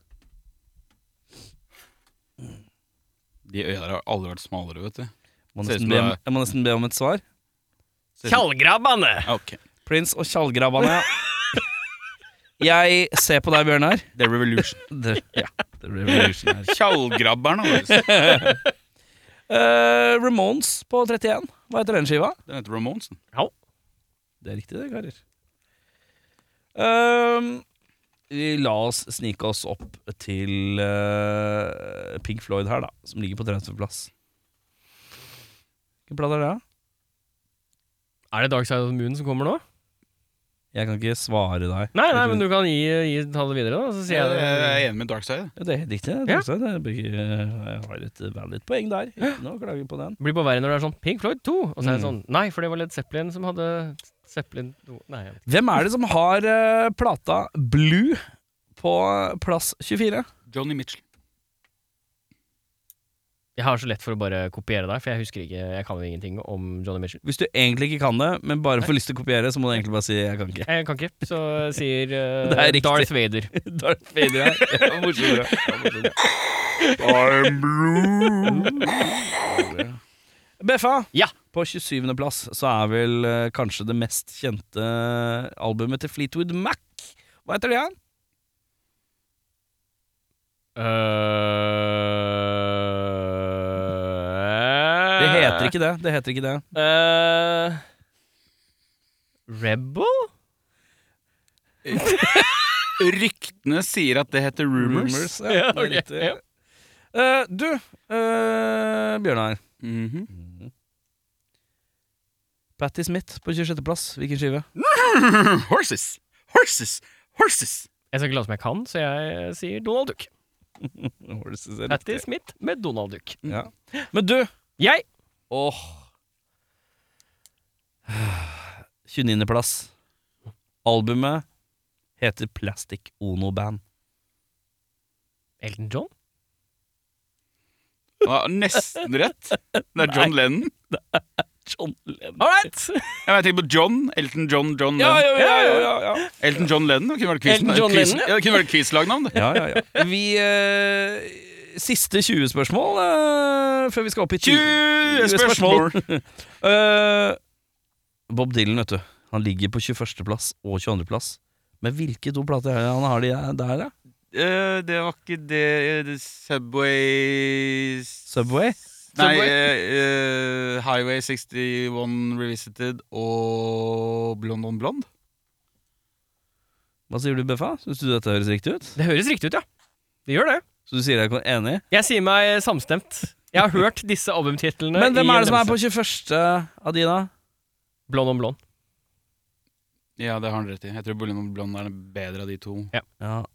B: De øya der har aldri vært smalere, vet du.
A: må
B: Ser ut
A: nesten
B: som
A: be om,
B: det
A: Jeg må nesten be om et svar.
C: Tjallgrabbane!
B: Ja, Ok.
A: Prince og tjallgrabbene, ja. Jeg ser på deg, Bjørnar.
B: The Revolution.
A: Det, ja, det blir
B: Tjallgrabberen, altså.
A: Eh, Ramones på 31. Hva heter den skiva?
B: Den heter Ramonsen.
A: Det er riktig, det, karer. Ehm, vi la oss snike oss opp til eh, Pink Floyd her, da, som ligger på 30.-plass. Hvilken plate er det? da?
C: Er det Dark Side of the Moon som kommer nå?
A: Jeg kan ikke svare deg.
C: Nei, nei, men du kan gi, gi ta det videre, da. Så sier
B: Jeg
A: Eh,
C: jeg det.
B: er enig med Darkside.
A: Ja, det er helt riktig.
C: Ja.
A: Det, er det, blir- jeg har et valid poeng der. Ikke noe å klage på den.
C: Det blir bare verre når det er sånn Pink Floyd 2, og så er det
A: Mm.
C: sånn Nei, for det var Led Zeppelin som hadde Zeppelin 2 Nei. jeg vet ikke.
A: Hvem er det som har eh, plata Blue på plass 24?
B: Johnny Mitchell.
C: Jeg har så lett for å bare kopiere deg, for jeg husker ikke Jeg kan jo ingenting om Johnny Mitchell.
A: Hvis du egentlig ikke kan det, men bare får lyst til å kopiere, så må du egentlig bare si 'jeg kan ikke'.
C: Jeg kan ikke, så sier eh,
A: Det er riktig.
C: Darth Vader.
A: Darth Vader her. Ja, morsommere. Ja, morsommere.
B: I'm
A: Beffa,
C: Ja.
A: på 27. plass så er vel eh, kanskje det mest kjente eh, albumet til Fleetwood Mac. Hva heter det igjen?
C: Eh,
A: Det heter ikke det. det heter ikke det
C: Eh, Rebel?
B: Ryktene sier at det heter Rumors.
A: ja,
C: Ja,
A: det er
C: ok,
A: riktig.
C: ja.
A: Eh, du, eh, Bjørnar.
B: Mhm.
A: Patti Smith på 26. plass. Hvilken skive?
B: Mm, Horses! Horses! Horses!
C: Jeg skal ikke late som jeg kan, så jeg sier Donald Duck.
A: Horses er
C: Patti
A: riktig.
C: Smith med Donald Duck.
A: Mm. Ja. Men du
C: Jeg
A: Åh 29. plass Albumet heter Plastic Ono Band
C: Elton John?
B: Ja, nesten rett. Det er John Lennon.
A: John Lennon
C: All right!
B: Ja, men Jeg tenker på John. Elton John, John
A: ja,
B: Lennon.
A: ja, ja, ja, ja, ja.
B: Elton John Lennon det kunne vært quiz,
C: Elton John
B: quiz,
C: Lennon, ja.
B: ja, det kunne vært quizlagnavn. det.
A: ja, ja, ja. Vi eh, Siste 20 spørsmål eh, før vi skal opp i
B: 20
A: Eh, Bob Dylan, vet du. Han ligger på 21. plass og 22. plass. Men hvilke to plater er det han har de der, da?
B: Eh, det var ikke det, det Subway
A: Subway?
B: Nei,
C: Subway?
B: eh, eh, Highway 61 Revisited og Blond on Blond.
A: Hva sier du, Beffa? Syns du dette høres riktig ut?
C: Det høres riktig ut, ja. Det gjør det.
A: Så du sier deg ikke enig?
C: Jeg sier meg samstemt. Jeg har hørt disse albumtitlene.
A: Men hvem
C: i
A: er det som er
C: remse.
A: på 21. av de, da?
C: Blond om blond?
B: Ja, det har han rett i. Jeg tror Blond on Blond er den bedre av de to.
A: Ja,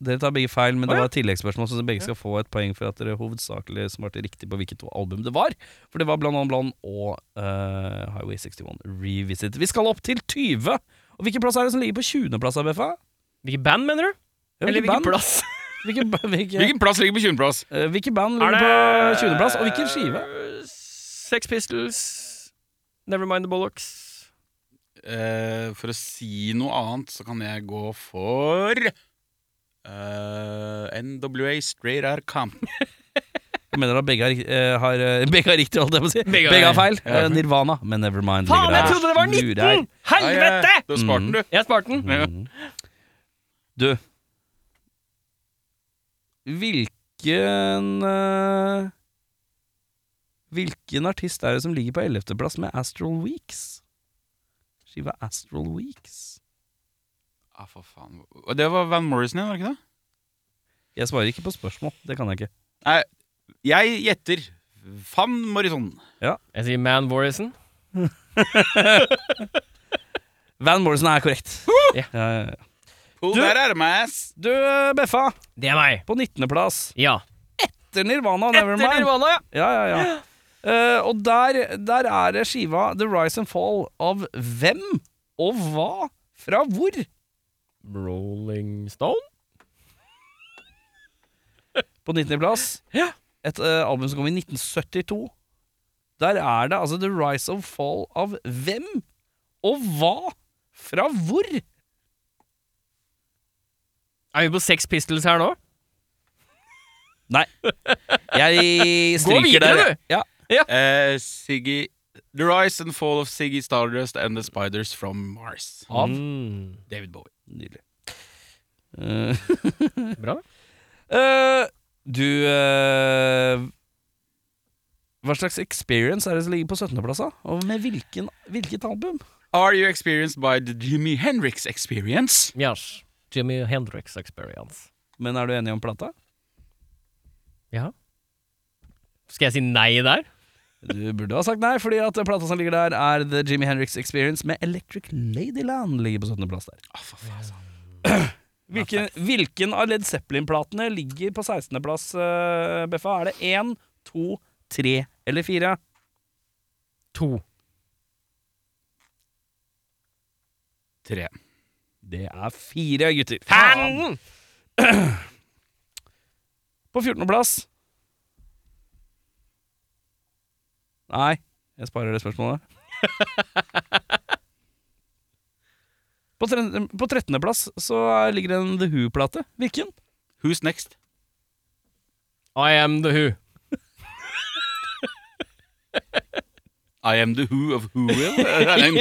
A: Dere tar begge feil,
C: Å,
A: men det
C: ja.
A: var et tilleggsspørsmål, så begge skal få et poeng for at dere hovedsakelig svarte riktig på hvilke to album det var. For det var Bland on Bland og eh, Highway 61 Revisit. Vi skal opp til 20. Og hvilken plass er det som ligger på 20.-plass, ABFA?
C: Hvilket band, mener du? Eller hvilken plass?
A: Hvilke, ba- hvilke,
B: Hvilken plass ligger på 20.-plass?
A: eh, hvilke band ligger på 20.-plass, og hvilken skive?
C: Sex Pistols, Nevermind the Bollocks
B: Eh, for å si noe annet, så kan jeg gå for eh, NWA Straight Out Compton.
A: Jeg mener da begge har, rik- eh, har eh, Begge har riktig, holdt jeg på å si.
C: Begge
A: Begge
C: har-
A: har feil.
B: Ja.
A: Eh, Nirvana, men Nevermind
C: Faen, jeg
A: ligger der.
C: trodde det var 19!
A: Lurer.
C: Helvete!
B: Da sparte den, du.
C: Jeg sparte den.
B: Ja.
A: Mm. Du Hvilken eh, Hvilken artist er det som ligger på 11. plass med Astral Weeks? Skiva Astral Weeks.
B: Ah, for faen. Og det var Van Morrison igjen, var det ikke det?
A: Jeg svarer ikke på spørsmål. Det kan jeg ikke.
B: Nei, jeg gjetter Van Morrison.
C: Jeg sier Man Warrison.
A: Van Morrison er korrekt. Ja, ja, ja.
B: Pull
A: Du-
B: that out of my ass.
A: Du, eh, Beffa,
C: Det er meg.
A: på 19.-plass.
C: Ja.
A: Etter Nirvana,
C: Etter
A: Nevermind.
C: Nirvana, ja.
A: Ja, ja, ja. Eh, og der, der er det skiva The Rise and Fall av hvem og hva fra hvor?
C: Rolling Stone?
A: På 19.-plass.
C: Ja.
A: Et eh, album som kom i 1972. Der er det altså The Rise and Fall av hvem og hva fra hvor?
C: Er vi på Sex Pistols her nå?
A: Nei. Jeg stryker
C: videre,
A: der.
C: du.
A: Ja.
B: Eh, Siggy The Rise and Fall of Siggy Stardust and the Spiders from Mars.
A: Av
C: Mm.
B: David Bowie.
A: Nydelig. Eh,
C: Bra.
A: eh, du eh, Hva slags experience er det som ligger på 17.-plass? da? Og med hvilken, hvilket album?
B: Are you experienced by the Jimi Hendrix experience?
C: Yes. Jimmy Hendrix Experience.
A: Men er du enig om plata?
C: Ja. Skal jeg si nei der?
A: Du burde ha sagt nei, fordi at plata som ligger der, er The Jimmy Hendrix Experience med Electric Ladyland ligger på 17.-plass der.
B: Ah, for faen.
A: Hvilken, hvilken av Led Zeppelin-platene ligger på 16.-plass, eh, Beffa? Er det én, to, tre eller fire?
C: To.
B: Tre.
A: Det er fire gutter.
C: Faen!
A: På 14.-plass Nei, jeg sparer det spørsmålet. på tre- på 13.-plass så er- ligger det en The Who-plate. Hvilken?
B: Who's next?
C: I am the who.
B: I am the who of who will? Er det en,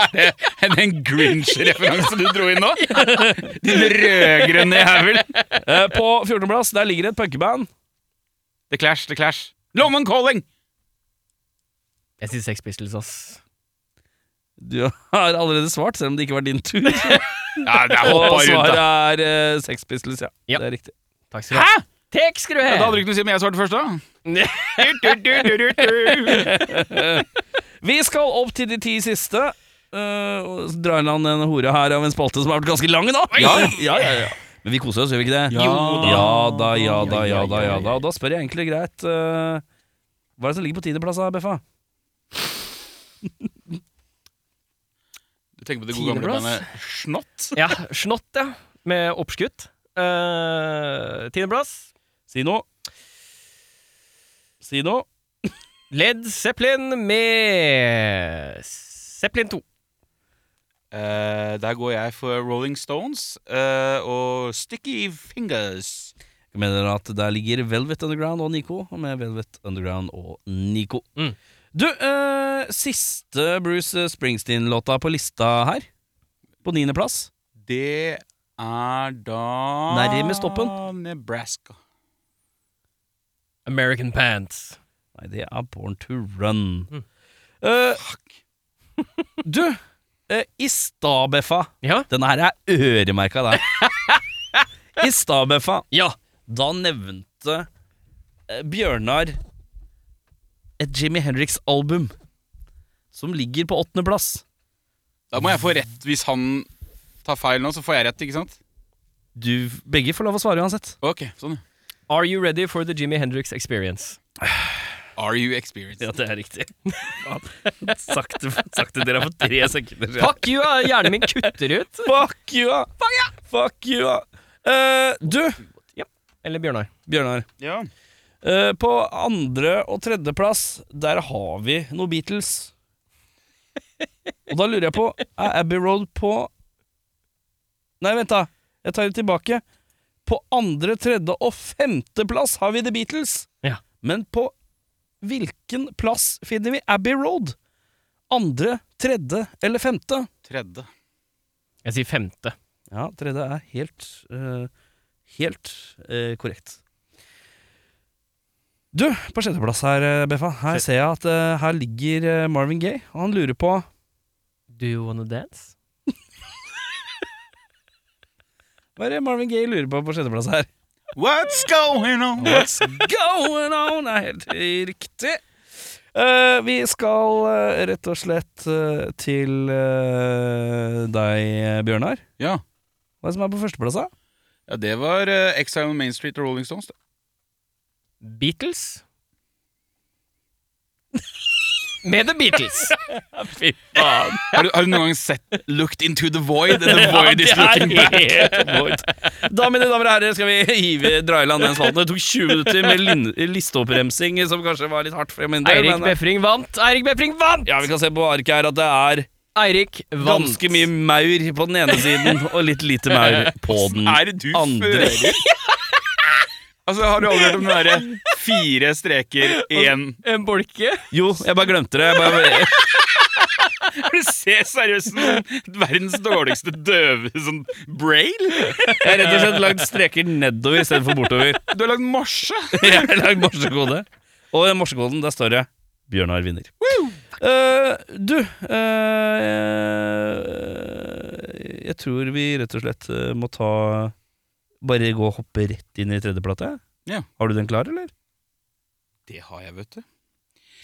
B: er det en, en Grinch-referanse du dro inn nå? Din rødgrønne jævel.
A: Eh, på 14.-plass der ligger det et punkeband.
B: The Clash, The Clash. Lommen Calling!
C: Jeg sier Sex Pistols, ass.
A: Du har allerede svart, selv om det ikke var din tur.
B: Ja, det er
A: Og
B: hoppa rundt,
A: svaret
B: da.
A: er eh, Sex Pistols, ja.
C: Ja.
A: Det er riktig.
C: Takk skal du ha.
B: Hæ?
C: Tek, skru
B: Ja,
C: her!
B: Da hadde du ikke noe å si om jeg svarte først, da. Du-du-du-du-du-du.
A: Vi skal opp til de ti siste. eh, og så drar han en hore her av en spalte som har vært ganske lang, da. Ja, ja, ja, ja. Men vi koser oss, gjør vi ikke det?
B: Ja. Jo da.
A: Ja da, ja da, ja da. ja da Og da spør jeg egentlig greit eh, Hva er det som ligger på tiendeplass, da, Beffa?
B: Du tenker på det gode gamle
C: Tiendeplass.
B: bandet Snott?
C: Ja, Snott, ja. Med oppskutt. Uh, Tiendeplass.
A: Si noe. Si noe.
C: Led Zeppelin med Zeppelin 2.
B: Eh, der går jeg for Rolling Stones eh, og Sticky Fingers.
A: Jeg mener at der ligger Velvet Underground og Nico, og med Velvet Underground og Nico.
C: Mm.
A: Du, eh, siste Bruce Springsteen-låta på lista her, på niendeplass.
B: Det er da
A: Nærmest toppen.
B: Nebraska.
C: American Pants.
A: Nei, det er Born to Run.
C: Mm.
A: Eh, du, eh, i stad, Beffa
C: Ja?
A: Denne her er øremerka deg. I stad, Beffa,
C: Ja.
A: da nevnte eh, Bjørnar et Jimmy Henriks-album som ligger på åttendeplass.
B: Da må jeg få rett. Hvis han tar feil nå, så får jeg rett, ikke sant?
A: Du, begge får lov å svare uansett.
B: Ok, sånn ja.
C: Are you ready for the Jimmy Hendrix experience?
B: Are you experienced?
A: det er riktig. Sakte, sakte dere på tre sekunder.
C: Fuck you, ja. hjernen min kutter ut.
A: Fuck you, ja. Fuck you, ja. Eh, du,
C: Eller Bjørnar.
A: Bjørnar.
B: Ja.
A: eh, på andre- og tredjeplass, der har vi noe Beatles. Og da lurer jeg på, er Abbey Road på Nei, vent, da. Jeg tar det tilbake. På andre, tredje og femteplass har vi The Beatles.
C: Ja.
A: Men på hvilken plass finner vi Abbey Road? Andre, tredje eller femte?
B: Tredje.
C: Jeg sier femte.
A: Ja, tredje er helt eh, Helt eh, korrekt. Du, på sjetteplass her, eh, Beffa. Her ser jeg at eh, her ligger eh, Marvin Gaye, og han lurer på
C: Do you wanna dance?
A: Hva er det Marvin Gaye lurer på på sjetteplass her?
B: What's going on?
A: What's going on? er helt riktig. Eh, vi skal eh, rett og slett eh, til eh, deg, Bjørnar,
B: Ja.
A: Hva er det som er på førsteplass, da?
B: Ja, det var eh, Exile on Main Street og Rolling Stones. da.
C: Beatles. Med The Beatles.
B: Har du, har du noen gang sett Looked into the void? and The void is looking back.
A: Da, mine damer og herrer, skal vi hive dra i land den spalten. Det tok 20 minutter med lin- listeoppbremsing, som kanskje var litt hardt for min del.
C: Eirik
A: men- eh,
C: Befring vant! Eirik Befring vant!
A: Ja, vi kan se på arket her at det er
C: Eirik vant.
A: ganske mye maur på den ene siden og litt lite maur på den
B: Er det du
A: andre.
B: fører? Altså, har du aldri hørt om den derre fire streker, én
C: En bolke.
A: Jo, jeg bare glemte det. Jeg bare,
B: Du ser seriøst ut som verdens dårligste døve sånn braille.
A: jeg har rett og slett lagd streker nedover istedenfor bortover.
B: Du har lagd morse.
A: Jeg har lagd morsekode. Og i morsekoden, der står det 'Bjørnar vinner'. Eh, du eh, Jeg tror vi rett og slett eh, må ta Bare gå og hoppe rett inn i tredjeplate.
B: Ja.
A: Har du den klar, eller?
B: Det har jeg, vet du.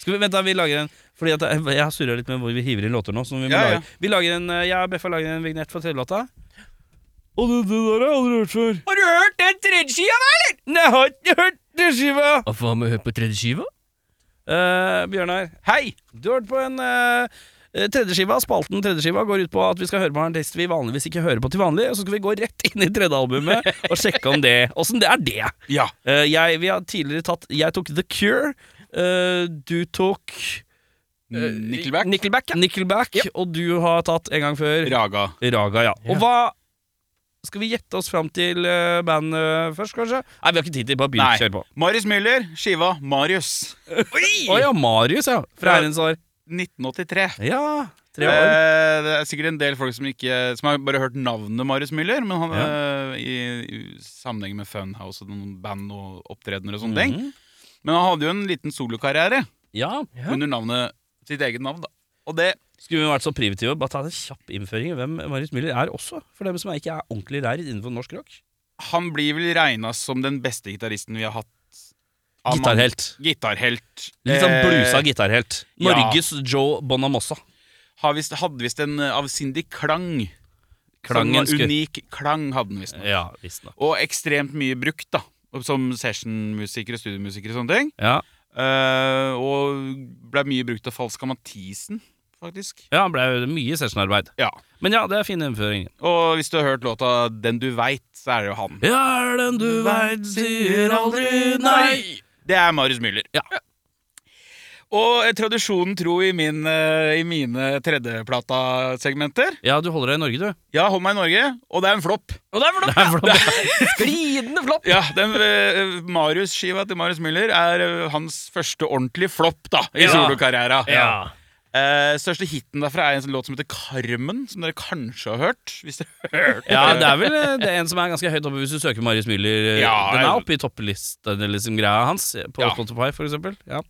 A: Skal vi, vent da, vi lager en Fordi at jeg, jeg har surra litt med hvor vi hiver inn låter nå. Så vi, må
B: Ja, ja.
A: lage, vi lager en eh, Jeg og Beffa lager en vignett for tredjelåta. Og det, det der har jeg aldri hørt før.
C: Har du hørt den tredje skiva, eller?
A: Nei, jeg har ikke hørt det skiva!
C: Og hva med å høre på tredje skiva?
A: Eh, Bjørnar, hei! Du har hørt på en eh, eh, tredjeskiva. Spalten tredjeskiva går ut på at vi skal høre på en artist vi vanligvis ikke hører på til vanlig, og så skal vi gå rett inn i tredje albumet og sjekke om det Åssen det er det?
B: Ja.
A: Eh, jeg, vi har tidligere tatt Jeg tok The Cure. eh, du tok
B: Eh, Nickelback.
A: Nickelback, ja. Nickelback Og du har tatt en gang før
B: Raga.
A: Raga, ja. Og hva Skal vi gjette oss fram til eh, bandet først, kanskje? Nei, vi har ikke tid til det. Bare begynn.
B: Nei.
A: Kjør på.
B: Marius Müller, skiva Marius.
A: Å ja, Marius, ja. Fra
B: Ja.
A: Ærens år.
B: 1983.
A: Ja. Tre år.
B: Eh, det er sikkert en del folk som, ikke, som har bare hørt navnet Marius Müller, men han eh, i, i sammenheng med Funhouse og noen band og opptredener og sånne ting.
A: Mhm.
B: Men han hadde jo en liten solokarriere
A: Ja.
B: under navnet sitt eget navn, da. Og det
A: Skulle vi vært så primitive, bare ta en kjapp innføring i hvem Marius Müller er også, for dem som ikke er ordentlig rær innenfor norsk rock.
B: Han blir vel regna som den beste gitaristen vi har hatt. av mange- Gitarhelt.
A: Litt sånn
B: Eh,
A: blusa gitarhelt.
B: ja.
A: Norges Joe Bonamossa.
B: har visst- Hadde visst en eh, avsindig klang.
A: Klangen
B: Sånn
A: skulle-
B: Unik klang hadde den visst.
A: Ja, visstnok.
B: Og ekstremt mye brukt, da. Som sessionmusikere, studiomusikere og sånne ting.
A: Ja.
B: Eh, og ble mye brukt av Falska Mathisen, faktisk.
A: ja, han ble jo mye sessionarbeid.
B: Ja.
A: Men ja, det er fin innføring.
B: Og hvis du har hørt låta 'Den du veit', så er det jo han.
A: Ja, er den du veit sier aldri nei.
B: Det er Marius Müller.
A: Ja.
B: Og eh, tradisjonen tro i, min, eh, i mine tredjeplata-segmenter
A: Ja, du holder deg i Norge, du.
B: Ja, Hold meg i Norge, og det er en flopp.
C: Og der var det
A: Det er flott.
C: Stridende flopp!
B: Ja, den eh, Marius-skiva til Marius Müller er eh, hans første ordentlige flopp da i
A: Ja.
B: solokarriera.
A: Ja.
B: Eh, største hiten derfra er en sånn låt som heter 'Carmen', som dere kanskje har hørt. Hvis dere har hørt
A: ja, det er vel eh, det er en som er ganske høyt oppe hvis du søker Marius Müller. eh,
B: Ja,
A: den er
B: jeg-
A: oppe i topplista eller liksom greia hans, eh, på
B: Ja.
A: Spotify for eksempel. Ja.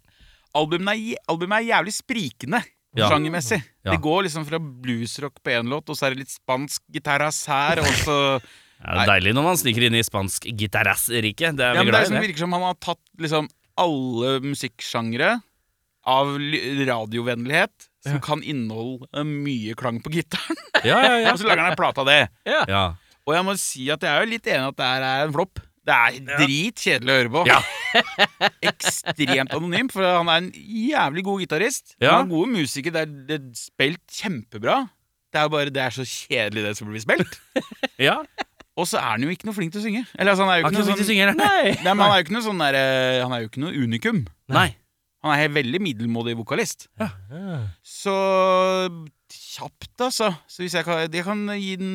B: albumet er, jæ- albumet er jævlig sprikende
A: Ja.
B: sjangermessig.
A: Ja.
B: Det går liksom fra bluesrock på én låt, og så er det litt spansk gitarras her, og så
A: Ja, det er deilig når man sniker inn i spansk gitarrass-rike. Det er
B: ja, men
A: vi
B: Det er
A: glad
B: liksom,
A: i. det.
B: virker som han har tatt liksom alle musikksjangre av ly- radiovennlighet, som kan inneholde eh, mye klang på gitaren,
A: Ja, ja, ja.
B: og så lager han en plate av det.
A: ja.
B: Og jeg må si at jeg er jo litt enig i at det her er en flopp. Det er dritkjedelig å høre på.
A: Ja.
B: Ekstremt anonym, for han er en jævlig god gitarist.
A: Ja.
B: Han er en god musiker. Det er, det er spilt kjempebra. Det er jo bare det er så kjedelig, det som blir spilt.
A: ja.
B: Og så er han jo ikke noe flink til å synge. Eller altså, han er jo
A: Har
B: ikke noe
A: ikke så
B: sånn
A: mye synger, nei.
B: Nei, men han er jo ikke noe sånn der, eh, Han er jo ikke noe unikum.
A: nei.
B: Han er en veldig middelmådig vokalist. Så kjapt, altså. Så hvis jeg kan, jeg kan gi den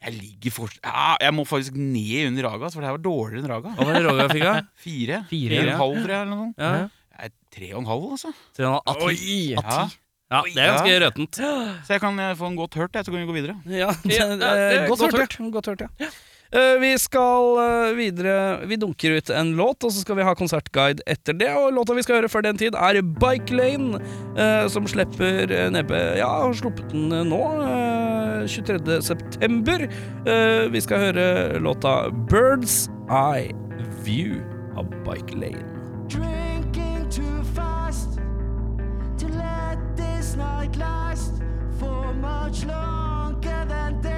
B: Jeg ligger for, ja, Jeg må faktisk ned under Raga, altså, for det her var dårligere enn Raga.
A: Hva var det Roger fikk, da?
B: Fire. Fire
C: Fire,
B: og
A: ja.
B: en halv, tror jeg. Eller noe sånt.
A: Ja.
B: Jeg er tre og en halv, altså.
A: Til han var 18.
B: Ja.
A: Ja, det er ganske røtent.
B: Så jeg kan eh, få en godt hørt, jeg, så kan vi gå videre.
A: Ja, det,
C: Ja, det er
A: eh,
C: godt
A: godt hørt. ja. Godt hørt, ja. Eh, vi skal eh, videre Vi dunker ut en låt, og så skal vi ha konsertguide etter det. Og låta vi skal høre før den tid, er Bike Lane, eh, som slipper eh, nedpe Ja, har sluppet den eh, nå. eh, 23. september. Eh, vi skal høre låta Birds Eye View av Bike Lane.
D: Drinking too fast to let this night last for much longer than this.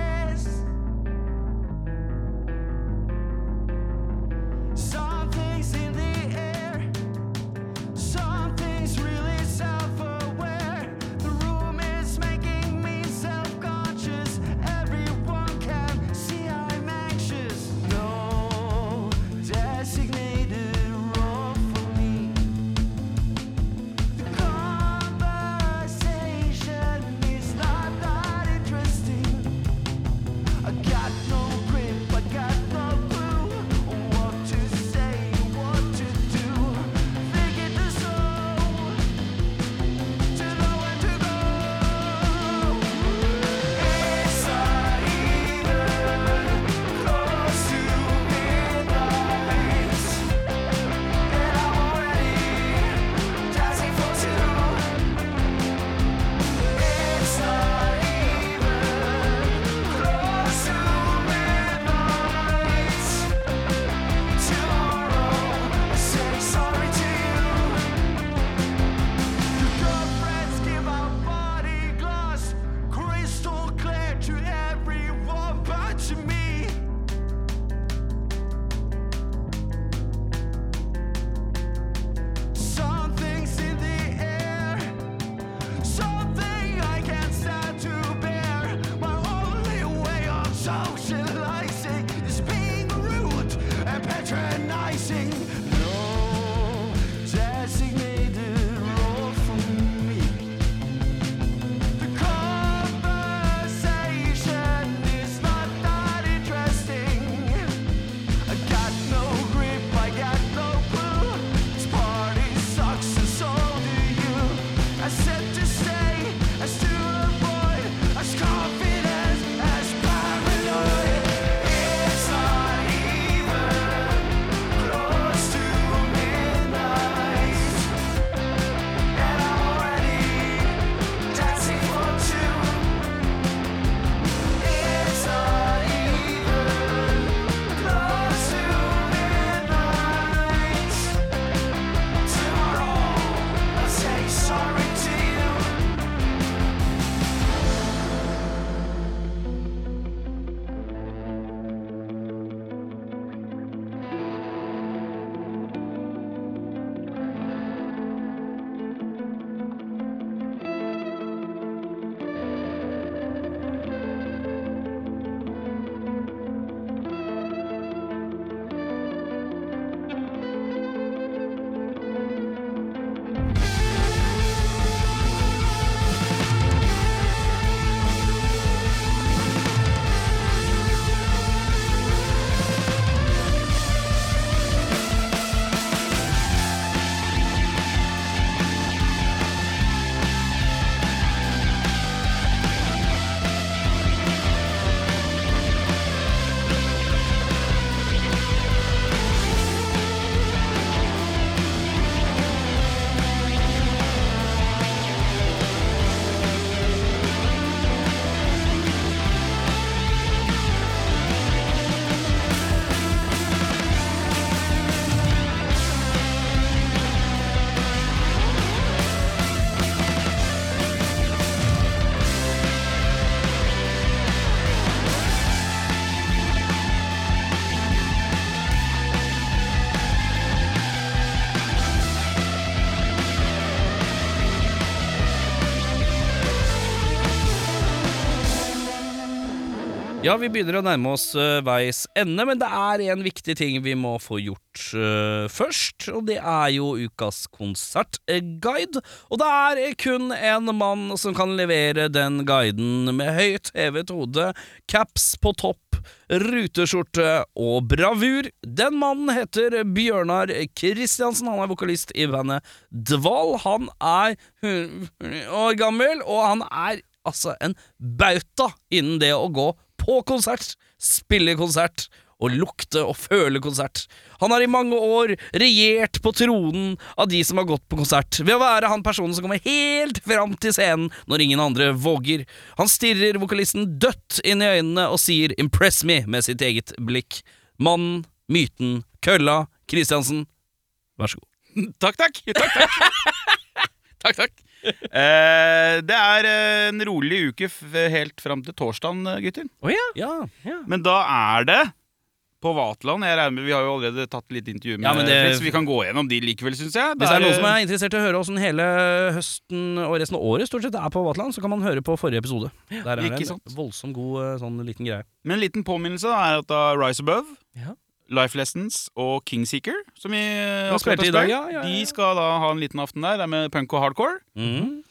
A: Ja, vi begynner å nærme oss eh, veis ende, men det er en viktig ting vi må få gjort eh, først. Og det er jo ukas konsertguide. Og det er eh, kun en mann som kan levere den guiden med høyt hevet hode, caps på topp, ruteskjorte og bravur. Den mannen heter Bjørnar Kristiansen. Han er vokalist i bandet Dval. Han er 100 år gammel, og han er altså en bauta innen det å gå på konsert, spille konsert og lukte og føle konsert. Han har i mange år regjert på tronen av de som har gått på konsert, ved å være han personen som kommer helt fram til scenen når ingen andre våger. Han stirrer vokalisten dødt inn i øynene og sier 'impress me' med sitt eget blikk. Mannen, myten, kølla, Kristiansen, vær så god.
B: Takk, takk. Takk, takk. takk, takk. Eh, det er eh, en rolig uke f helt fram til torsdagen, eh, gutter.
A: Ja,
B: Men da er det på Vaterland. Jeg regner med Vi har jo allerede tatt litt intervju med
A: Ja, men det-
B: Fritz, så vi kan gå gjennom de likevel, syns jeg.
A: Hvis det er noen som
B: eh,
A: er interessert i å høre åssen hele høsten og resten av året stort sett er på Vatland, så kan man høre på forrige episode. Der er det
B: ikke
A: en
B: sant.
A: voldsomt god eh, sånn liten greie.
B: Men en liten påminnelse da, er at da Rise Above,
C: Ja.
B: Life Lessons og Kingseeker, som vi eh,
A: Ja,
B: akkurat
A: spilte i
B: har
A: dag,
B: spilt,
A: ja, ja, ja.
B: de skal da ha en liten aften der. Det er med punk og hardcore.
A: Mhm.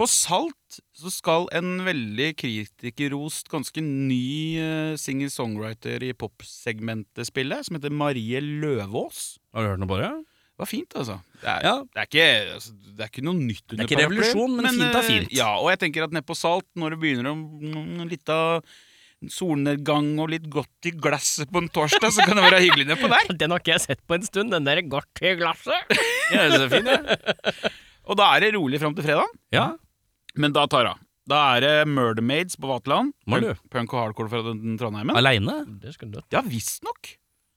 B: På Salt så skal en veldig kritikerrost, ganske ny eh, singer-songwriter i popsegmentet spille, som heter Marie Løvaas.
A: Har du hørt noe på det?
B: Det var fint, altså. Det er,
A: Ja.
B: det er, ikke, altså, det er ikke noe nytt under
A: er ikke
B: paraplyen,
A: revolusjon, men fint er
B: eh,
A: fint.
B: Ja, og jeg tenker at nede på Salt, når det begynner å mm, litt av solnedgang og litt godt i glasset på en torsdag, så kan det være hyggelig nedpå der.
C: Den har ikke jeg sett på en stund, den der godt i glasset.
B: Ja, det er så fint, det. Og da er det rolig fram til fredag.
A: Ja.
B: Men da tar jeg. Da er det Murder Maids på Vaterland.
A: Må du?
B: Punk og hardcore fra den- Trondheimen.
A: Aleine?
C: Det skal du
B: Ja, visstnok.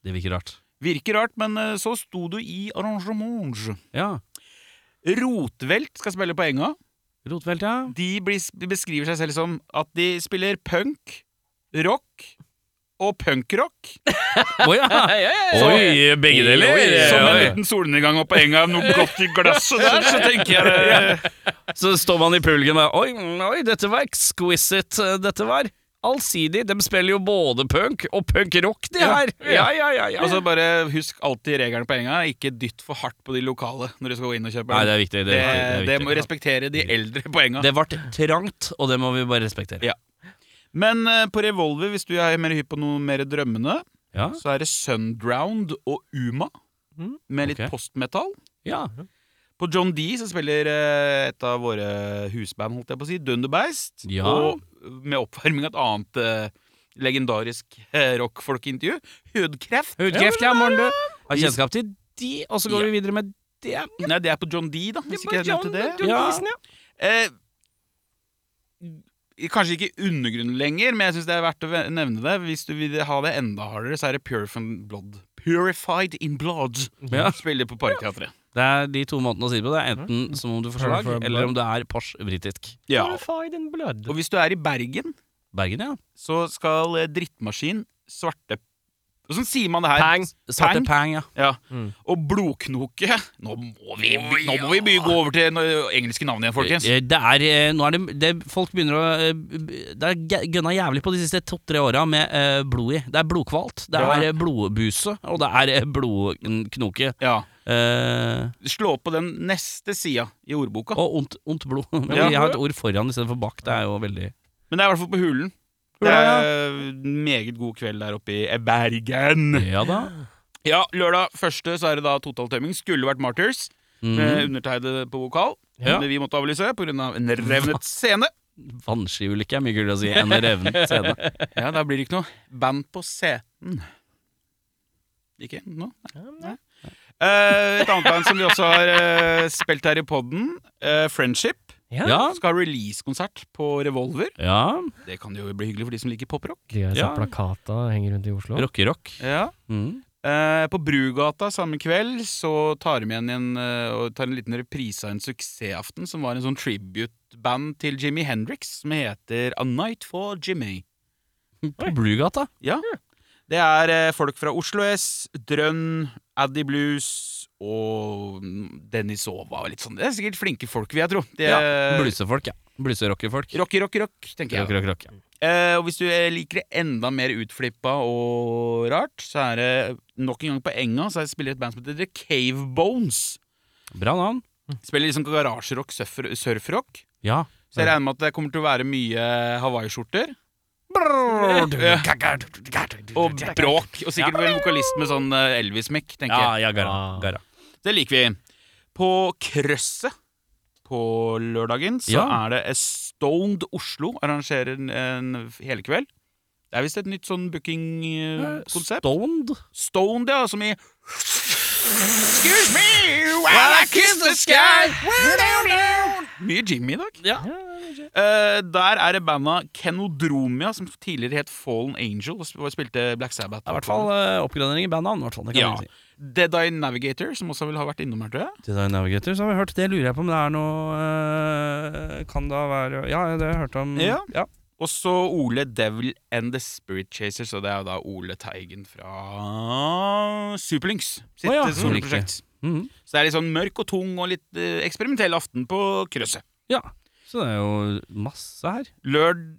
A: Det virker rart.
B: Virker rart, men eh, så sto du i arrangement.
A: Ja.
B: Rotvelt skal spille på enga.
A: Rotvelt, ja.
B: De blir, de beskriver seg selv som at de spiller punk, rock og punkrock.
A: Å ja.
C: ja, ja, ja.
A: Oi, begge deler.
B: Som en
A: Oi, oi.
B: liten solnedgang opp på enga, noe godt i glasset der, så tenker jeg eh, det.
A: Så står man i pulgen og oi, oi, dette var exquisite. eh, Dette var allsidig. De spiller jo både punk og punkrock, de her. Ja, ja, ja. ja.
B: Og så altså bare husk alltid regelen på enga. Ikke dytt for hardt på de lokale når du skal gå inn og kjøpe.
A: Nei, det er viktig. Det,
B: det,
A: er viktig, det, er
B: det
A: viktig.
B: må respektere de eldre på enga.
A: det ble trangt, og det må vi bare respektere.
B: Ja. Men eh, på Revolver, hvis du er mer hypp på noe mer drømmende,
A: Ja.
B: så er det Sundround og Uma. Med litt
A: Mm. ok.
B: postmetall.
A: ja.
B: På John D så spiller eh, et av våre husband, holdt jeg på å si, Dunderbeist.
A: Ja.
B: Og med oppvarming av et annet eh, legendarisk eh, rockfolkeintervju, Hudkreft.
A: Hudkreft, ja, morgen, du. Har kjennskap til de, og så
B: Ja.
A: går vi videre med det.
B: Nei, det er på John D, da, hvis ikke jeg nevnte det.
A: Ja.
B: Eh, Kanskje ikke undergrunnen lenger, men jeg syns det er verdt å ve- nevne det. Hvis du vil ha det enda hardere, så er det Purified Blood. Purified in Blood.
A: Ja.
B: Spiller på Parkteatret.
A: Det er de to måtene å si det på. Det er enten som om Mm. du får slag,
E: Purple
A: eller om det er Porsche britisk.
B: Ja.
C: Purified in blood.
B: Og hvis du er i Bergen,
A: Bergen, ja.
B: så skal eh, Drittmaskin, Svarte Åssen sier man det her?
C: Pang.
A: Svarte
B: Pang.
A: pang, Mm. ja.
B: Ja. Og Blodknoke Nå må vi, nå må vi by- gå over til no- engelske navn igjen, folkens.
A: Eh, Det er, eh, nå er det, det Folk begynner å eh, b- Det er g- gønna jævlig på de siste to-tre åra med eh, blod i. Det er blodkvalt, det
B: Ja.
A: er eh, blodbuse, og det er eh, blodknoke.
B: Ja.
A: Eh,
B: Slå på den neste sida i ordboka.
A: og ondt, ondt blod. Men
B: Ja.
A: Jeg har et ord foran istedenfor bak. Det er jo veldig
B: Men det er i hvert fall på Hulen. Det
A: Hula, ja.
B: er en meget god kveld der oppe i Bergen.
A: Ja da.
B: Ja, lørdag første så er det da totaltømming. Skulle vært Martyrs, med
A: Mm.
B: undertegnede på vokal.
A: Ja.
B: Men vi måtte avlyse pga. Av en revnet scene.
A: Vannskiulykke er mye kulere å si enn revnet scene.
B: Ja, Da blir det ikke noe band på scenen. Ikke nå? Nei. Eh, et annet band som vi også har eh, spilt her i poden, Friendship,
A: Ja.
B: skal ha releasekonsert på Revolver.
A: ja.
B: Det kan jo bli hyggelig for de som liker poprock.
C: De har
A: Ja.
C: sett plakata henger rundt i Oslo.
A: Rockerock.
B: Ja.
A: Mm.
B: Eh, på Brugata samme kveld så tar de igjen en, eh, og tar en liten reprise av en suksessaften som var en sånn tribute-band til Jimmy Hendrix som heter A Night for Jimmy.
A: På Brugata.
B: Ja. Det er eh, folk fra Oslo S, Drønn, Addy Blues og mm, Denisova og litt sånn. Det er sikkert flinke folk, vil jeg tro. De
A: Ja.
B: er
A: Blusefolk, ja. Bluserockefolk.
B: Rocky, rocky, rock, tenker jeg.
A: Rock, rock, rock, ja.
B: Eh, og hvis du eh, liker det enda mer utflippa og rart, så er det nok en gang på enga så er det spiller et band som heter The Cave Bones.
A: Bra navn.
B: Spiller liksom garasjerock, surfer, surfrock.
A: Ja.
B: Så jeg regner med at det kommer til å være mye hawaiiskjorter. Ja. Og bråk. Og sikkert vel en vokalist med sånn eh, Elvis-mic, tenker jeg.
A: Ja, ja, gara.
C: Ah.
A: gara.
B: Det liker vi. På Krøsset på lørdagen så
A: Ja.
B: er det Stoned Oslo arrangerer en, en helkveld. Det er visst et nytt sånn booking-konsept.
A: Stoned.
B: Stoned, ja, som i Excuse me while I kiss the sky We're down here. Mye Jimmy i dag.
A: Ja.
B: Eh, der er det banda Kenodromia, som tidligere het Fallen Angel, og sp- og spilte Black Sabbath.
A: Det er i hvert fall eh, oppgradering i bandnavn. i hvert fall, Det kan
B: Ja.
A: vi si.
B: Dead Eye Navigator, som også vil ha vært innom her, tror jeg.
A: Design Navigator, så har vi hørt. Det lurer jeg på om det er noe eh, Kan da være Ja, det har jeg hørt om.
B: Ja.
A: ja.
B: Og så Ole Devil and The Spirit Chasers, og det er jo da Ole Teigen fra Superlynx sitt
A: Å ja,
B: eh, soloprosjekt.
A: Mhm.
B: Så det er litt sånn mørk og tung og litt eh, eksperimentell aften på krøsset.
A: ja. Så det er jo masse her.
B: Lørd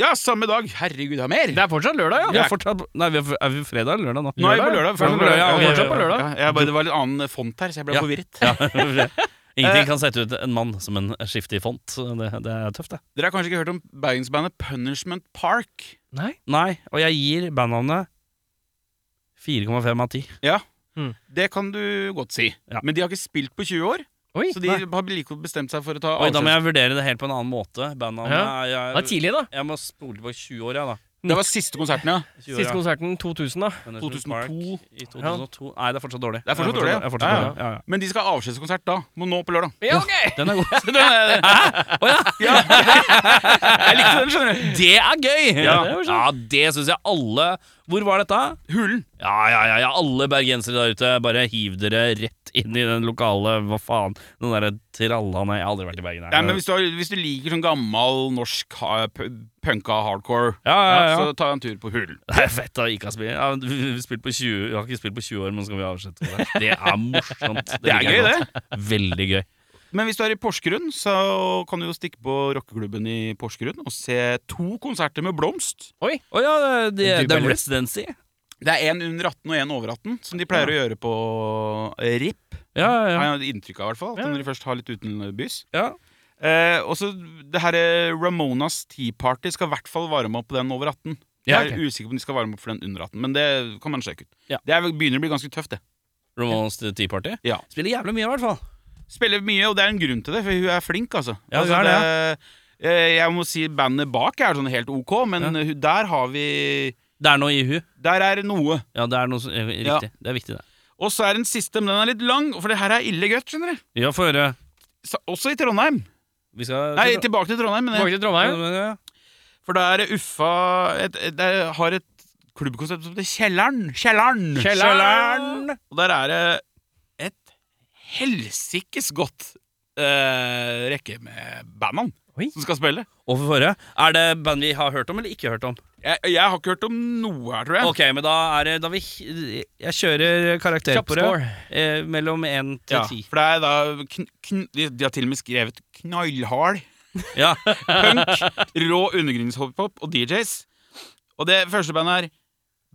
B: Ja, samme dag! Herregud, det er mer!
C: Det er fortsatt lørdag, ja.
A: Vi er, fortsatt, nei, vi er, er vi fredag eller lørdag nå?
B: Nå er vi på lørdag. Først på
A: Ja,
B: lørdag.
A: ja,
C: vi er
A: fortsatt
C: på lørdag.
B: Ja, jeg bare, det var litt annen font her, så jeg ble
A: Ja.
B: forvirret.
A: Ja. Ingenting kan sette ut en mann som en skiftig font. Det, det er tøft, det.
B: Dere har kanskje ikke hørt om bergensbandet Punishment Park?
C: Nei.
A: Nei, og jeg gir bandnavnet 4,5 av 10.
B: Ja,
C: Mm.
B: det kan du godt si.
A: Ja.
B: Men de har ikke spilt på 20 år,
C: Oi.
B: så de har like godt bestemt seg for å ta
A: Oi, da
B: avskjed.
A: må jeg vurdere det helt på en annen måte. Bandnavnet
C: Ja.
A: er-
C: Det var
A: jeg,
C: tidlig, da.
A: jeg må spole tilbake 20 år, jeg, da.
B: Det var siste konserten, ja.
A: 20 år,
C: Siste
A: ja.
C: konserten 2000, da.
A: Men det er
B: 2002.
A: Park I 2002. Nei, det er fortsatt dårlig.
B: Det er fortsatt dårlig, ja.
A: det er fortsatt
B: Ja, ja.
A: dårlig. Ja, ja.
B: Men de skal ha avskjedskonsert da. Må nå på lørdag.
C: Ja, ok!
A: Den er god.
B: Den er- ja. Jeg likte den, skjønner du.
A: Det er gøy!
B: Ja.
A: ja det syns jeg alle Hvor var dette?
B: Hulen.
A: Ja, ja, ja, ja, alle bergensere der ute, bare hiv dere rett inn i den lokale, hva faen, den der trallene, jeg har aldri vært i Bergen her.
B: Nei, men hvis du, har, hvis du liker sånn gammal norsk ha- pu- punka hardcore,
A: Ja, ja, ja.
B: så ta en tur på Hulen.
A: Det er fett å ikke ha spilt. Ja, vi vi spilt på 20, vi har ikke spilt på 20 år, men skal vi avslutte med det? Det er morsomt.
B: Det er
A: liker jeg
B: gøy,
A: godt. Veldig gøy.
B: Men hvis du er i Porsgrunn, så kan du jo stikke på rockeklubben i Porsgrunn og se to konserter med Blomst.
A: Å ja, det, det,
C: Du,
A: det er
C: Bellu.
A: residency.
B: Det er en under 18 og en over 18, som de pleier å gjøre på RIP.
A: Ja,
B: Jeg
A: ja,
B: har jeg inntrykk av, i hvert fall. At Når de først har litt utenbys.
A: ja.
B: Eh, og så det her eh, Ramonas Tea Party skal i hvert fall varme opp på den over 18. Jeg
A: Ja,
B: er usikker på om de skal varme opp for den under 18, men det kan man sjekke ut.
A: Ja.
B: Det er, begynner å bli ganske tøft, det.
A: Ramones Tea Party.
B: Ja.
A: Spiller jævlig mye, i hvert fall.
B: Spiller mye, og det er en grunn til det, for hun er flink, altså.
A: Ja, hun
B: altså
A: er det,
B: det- eh, jeg må si bandet bak er sånn helt ok, men
A: Ja.
B: hun- der har vi
A: Det er noe i hu.
B: Der er noe.
A: Ja, det er noe som, eh,
B: Ja.
A: riktig. Det er viktig, det.
B: Og så er den siste, men den er litt lang, for det her er ille gøtt, skjønner du.
A: Ja, få høre.
B: Så, også i Trondheim.
A: Vi skal
B: Nei, tilbake til Trondheim, men
C: Tilbake til Trondheim.
A: Ja,
B: For da er det Uffa et, et, Det har et klubbkonsept som heter Kjelleren. Kjelleren!
C: Kjelleren!
B: Og der er det et helsikes godt eh, rekke med bandene
C: Oi.
B: som skal spille.
A: Og for forrige, er det band vi har hørt om eller ikke hørt om?
B: Jeg, jeg har ikke hørt om noe her, tror jeg.
A: Ok, men da er det da vi, Jeg kjører karakter
C: Kjapp
A: på det
C: score.
A: eh, mellom 1
B: Ja,
A: til 10
B: for det er da kn, kn, de, de har til og med skrevet knallhard
A: ja.
B: punk, rå undergrunnshiphop og DJs. Og det første bandet er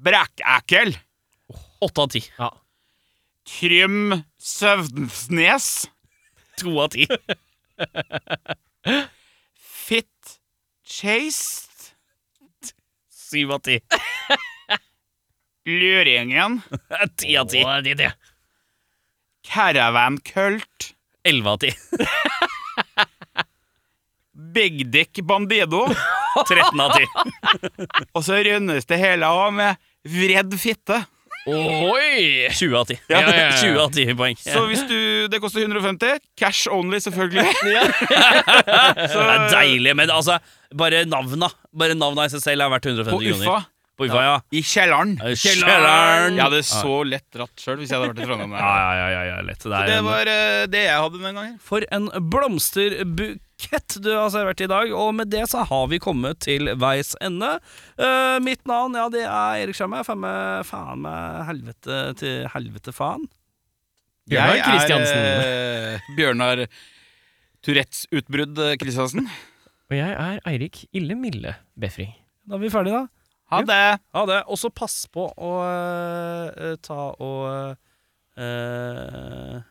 B: Brækækel.
A: 8 av 10
B: Trym Søvnsnes.
A: 2 av 10
B: Fit Chased
A: 7 av 10
B: Luringen
A: 10 av 10
C: Å, det er det.
B: Caravan Cult
A: 11 av 10
B: Big Dick Bandido
A: 13 av 10
B: Og så rundes det hele av med Vredd fitte
C: Ohoi!
A: 20 av 10
B: Ja, ja,
C: ja, ja.
A: 20 av 10 poeng
B: Så hvis du, det koster 150 Cash only selvfølgelig Så
A: Det er deilig, men altså Bare navna Bare navna i seg selv er verdt 150
B: på
A: kroner
B: Uffa
A: På Uffa, ja
B: I kjelleren
A: Kjelleren
B: Jeg hadde så lett dratt selv hvis jeg hadde vært i Trondheim
A: Ja, ja, ja, ja, ja lett det, er
B: Det
A: en-
B: var eh, det jeg hadde den gangen
A: For en blomsterbukett du har servert i dag, og med det så har vi kommet til veis ende. Eh, mitt navn, ja, det er Erik Skjermøy. Faen meg, faen meg helvete til helvete faen.
B: Jeg
C: Bjørnar
B: er,
C: Kristiansen.
B: eh, Bjørnar Tourettes utbrudd eh, Kristiansen
C: Og jeg er Eirik Ille Mille Befring.
A: Da er vi ferdige, da.
B: Ha det!
A: Ja, det. Og så pass på å eh, ta og eh,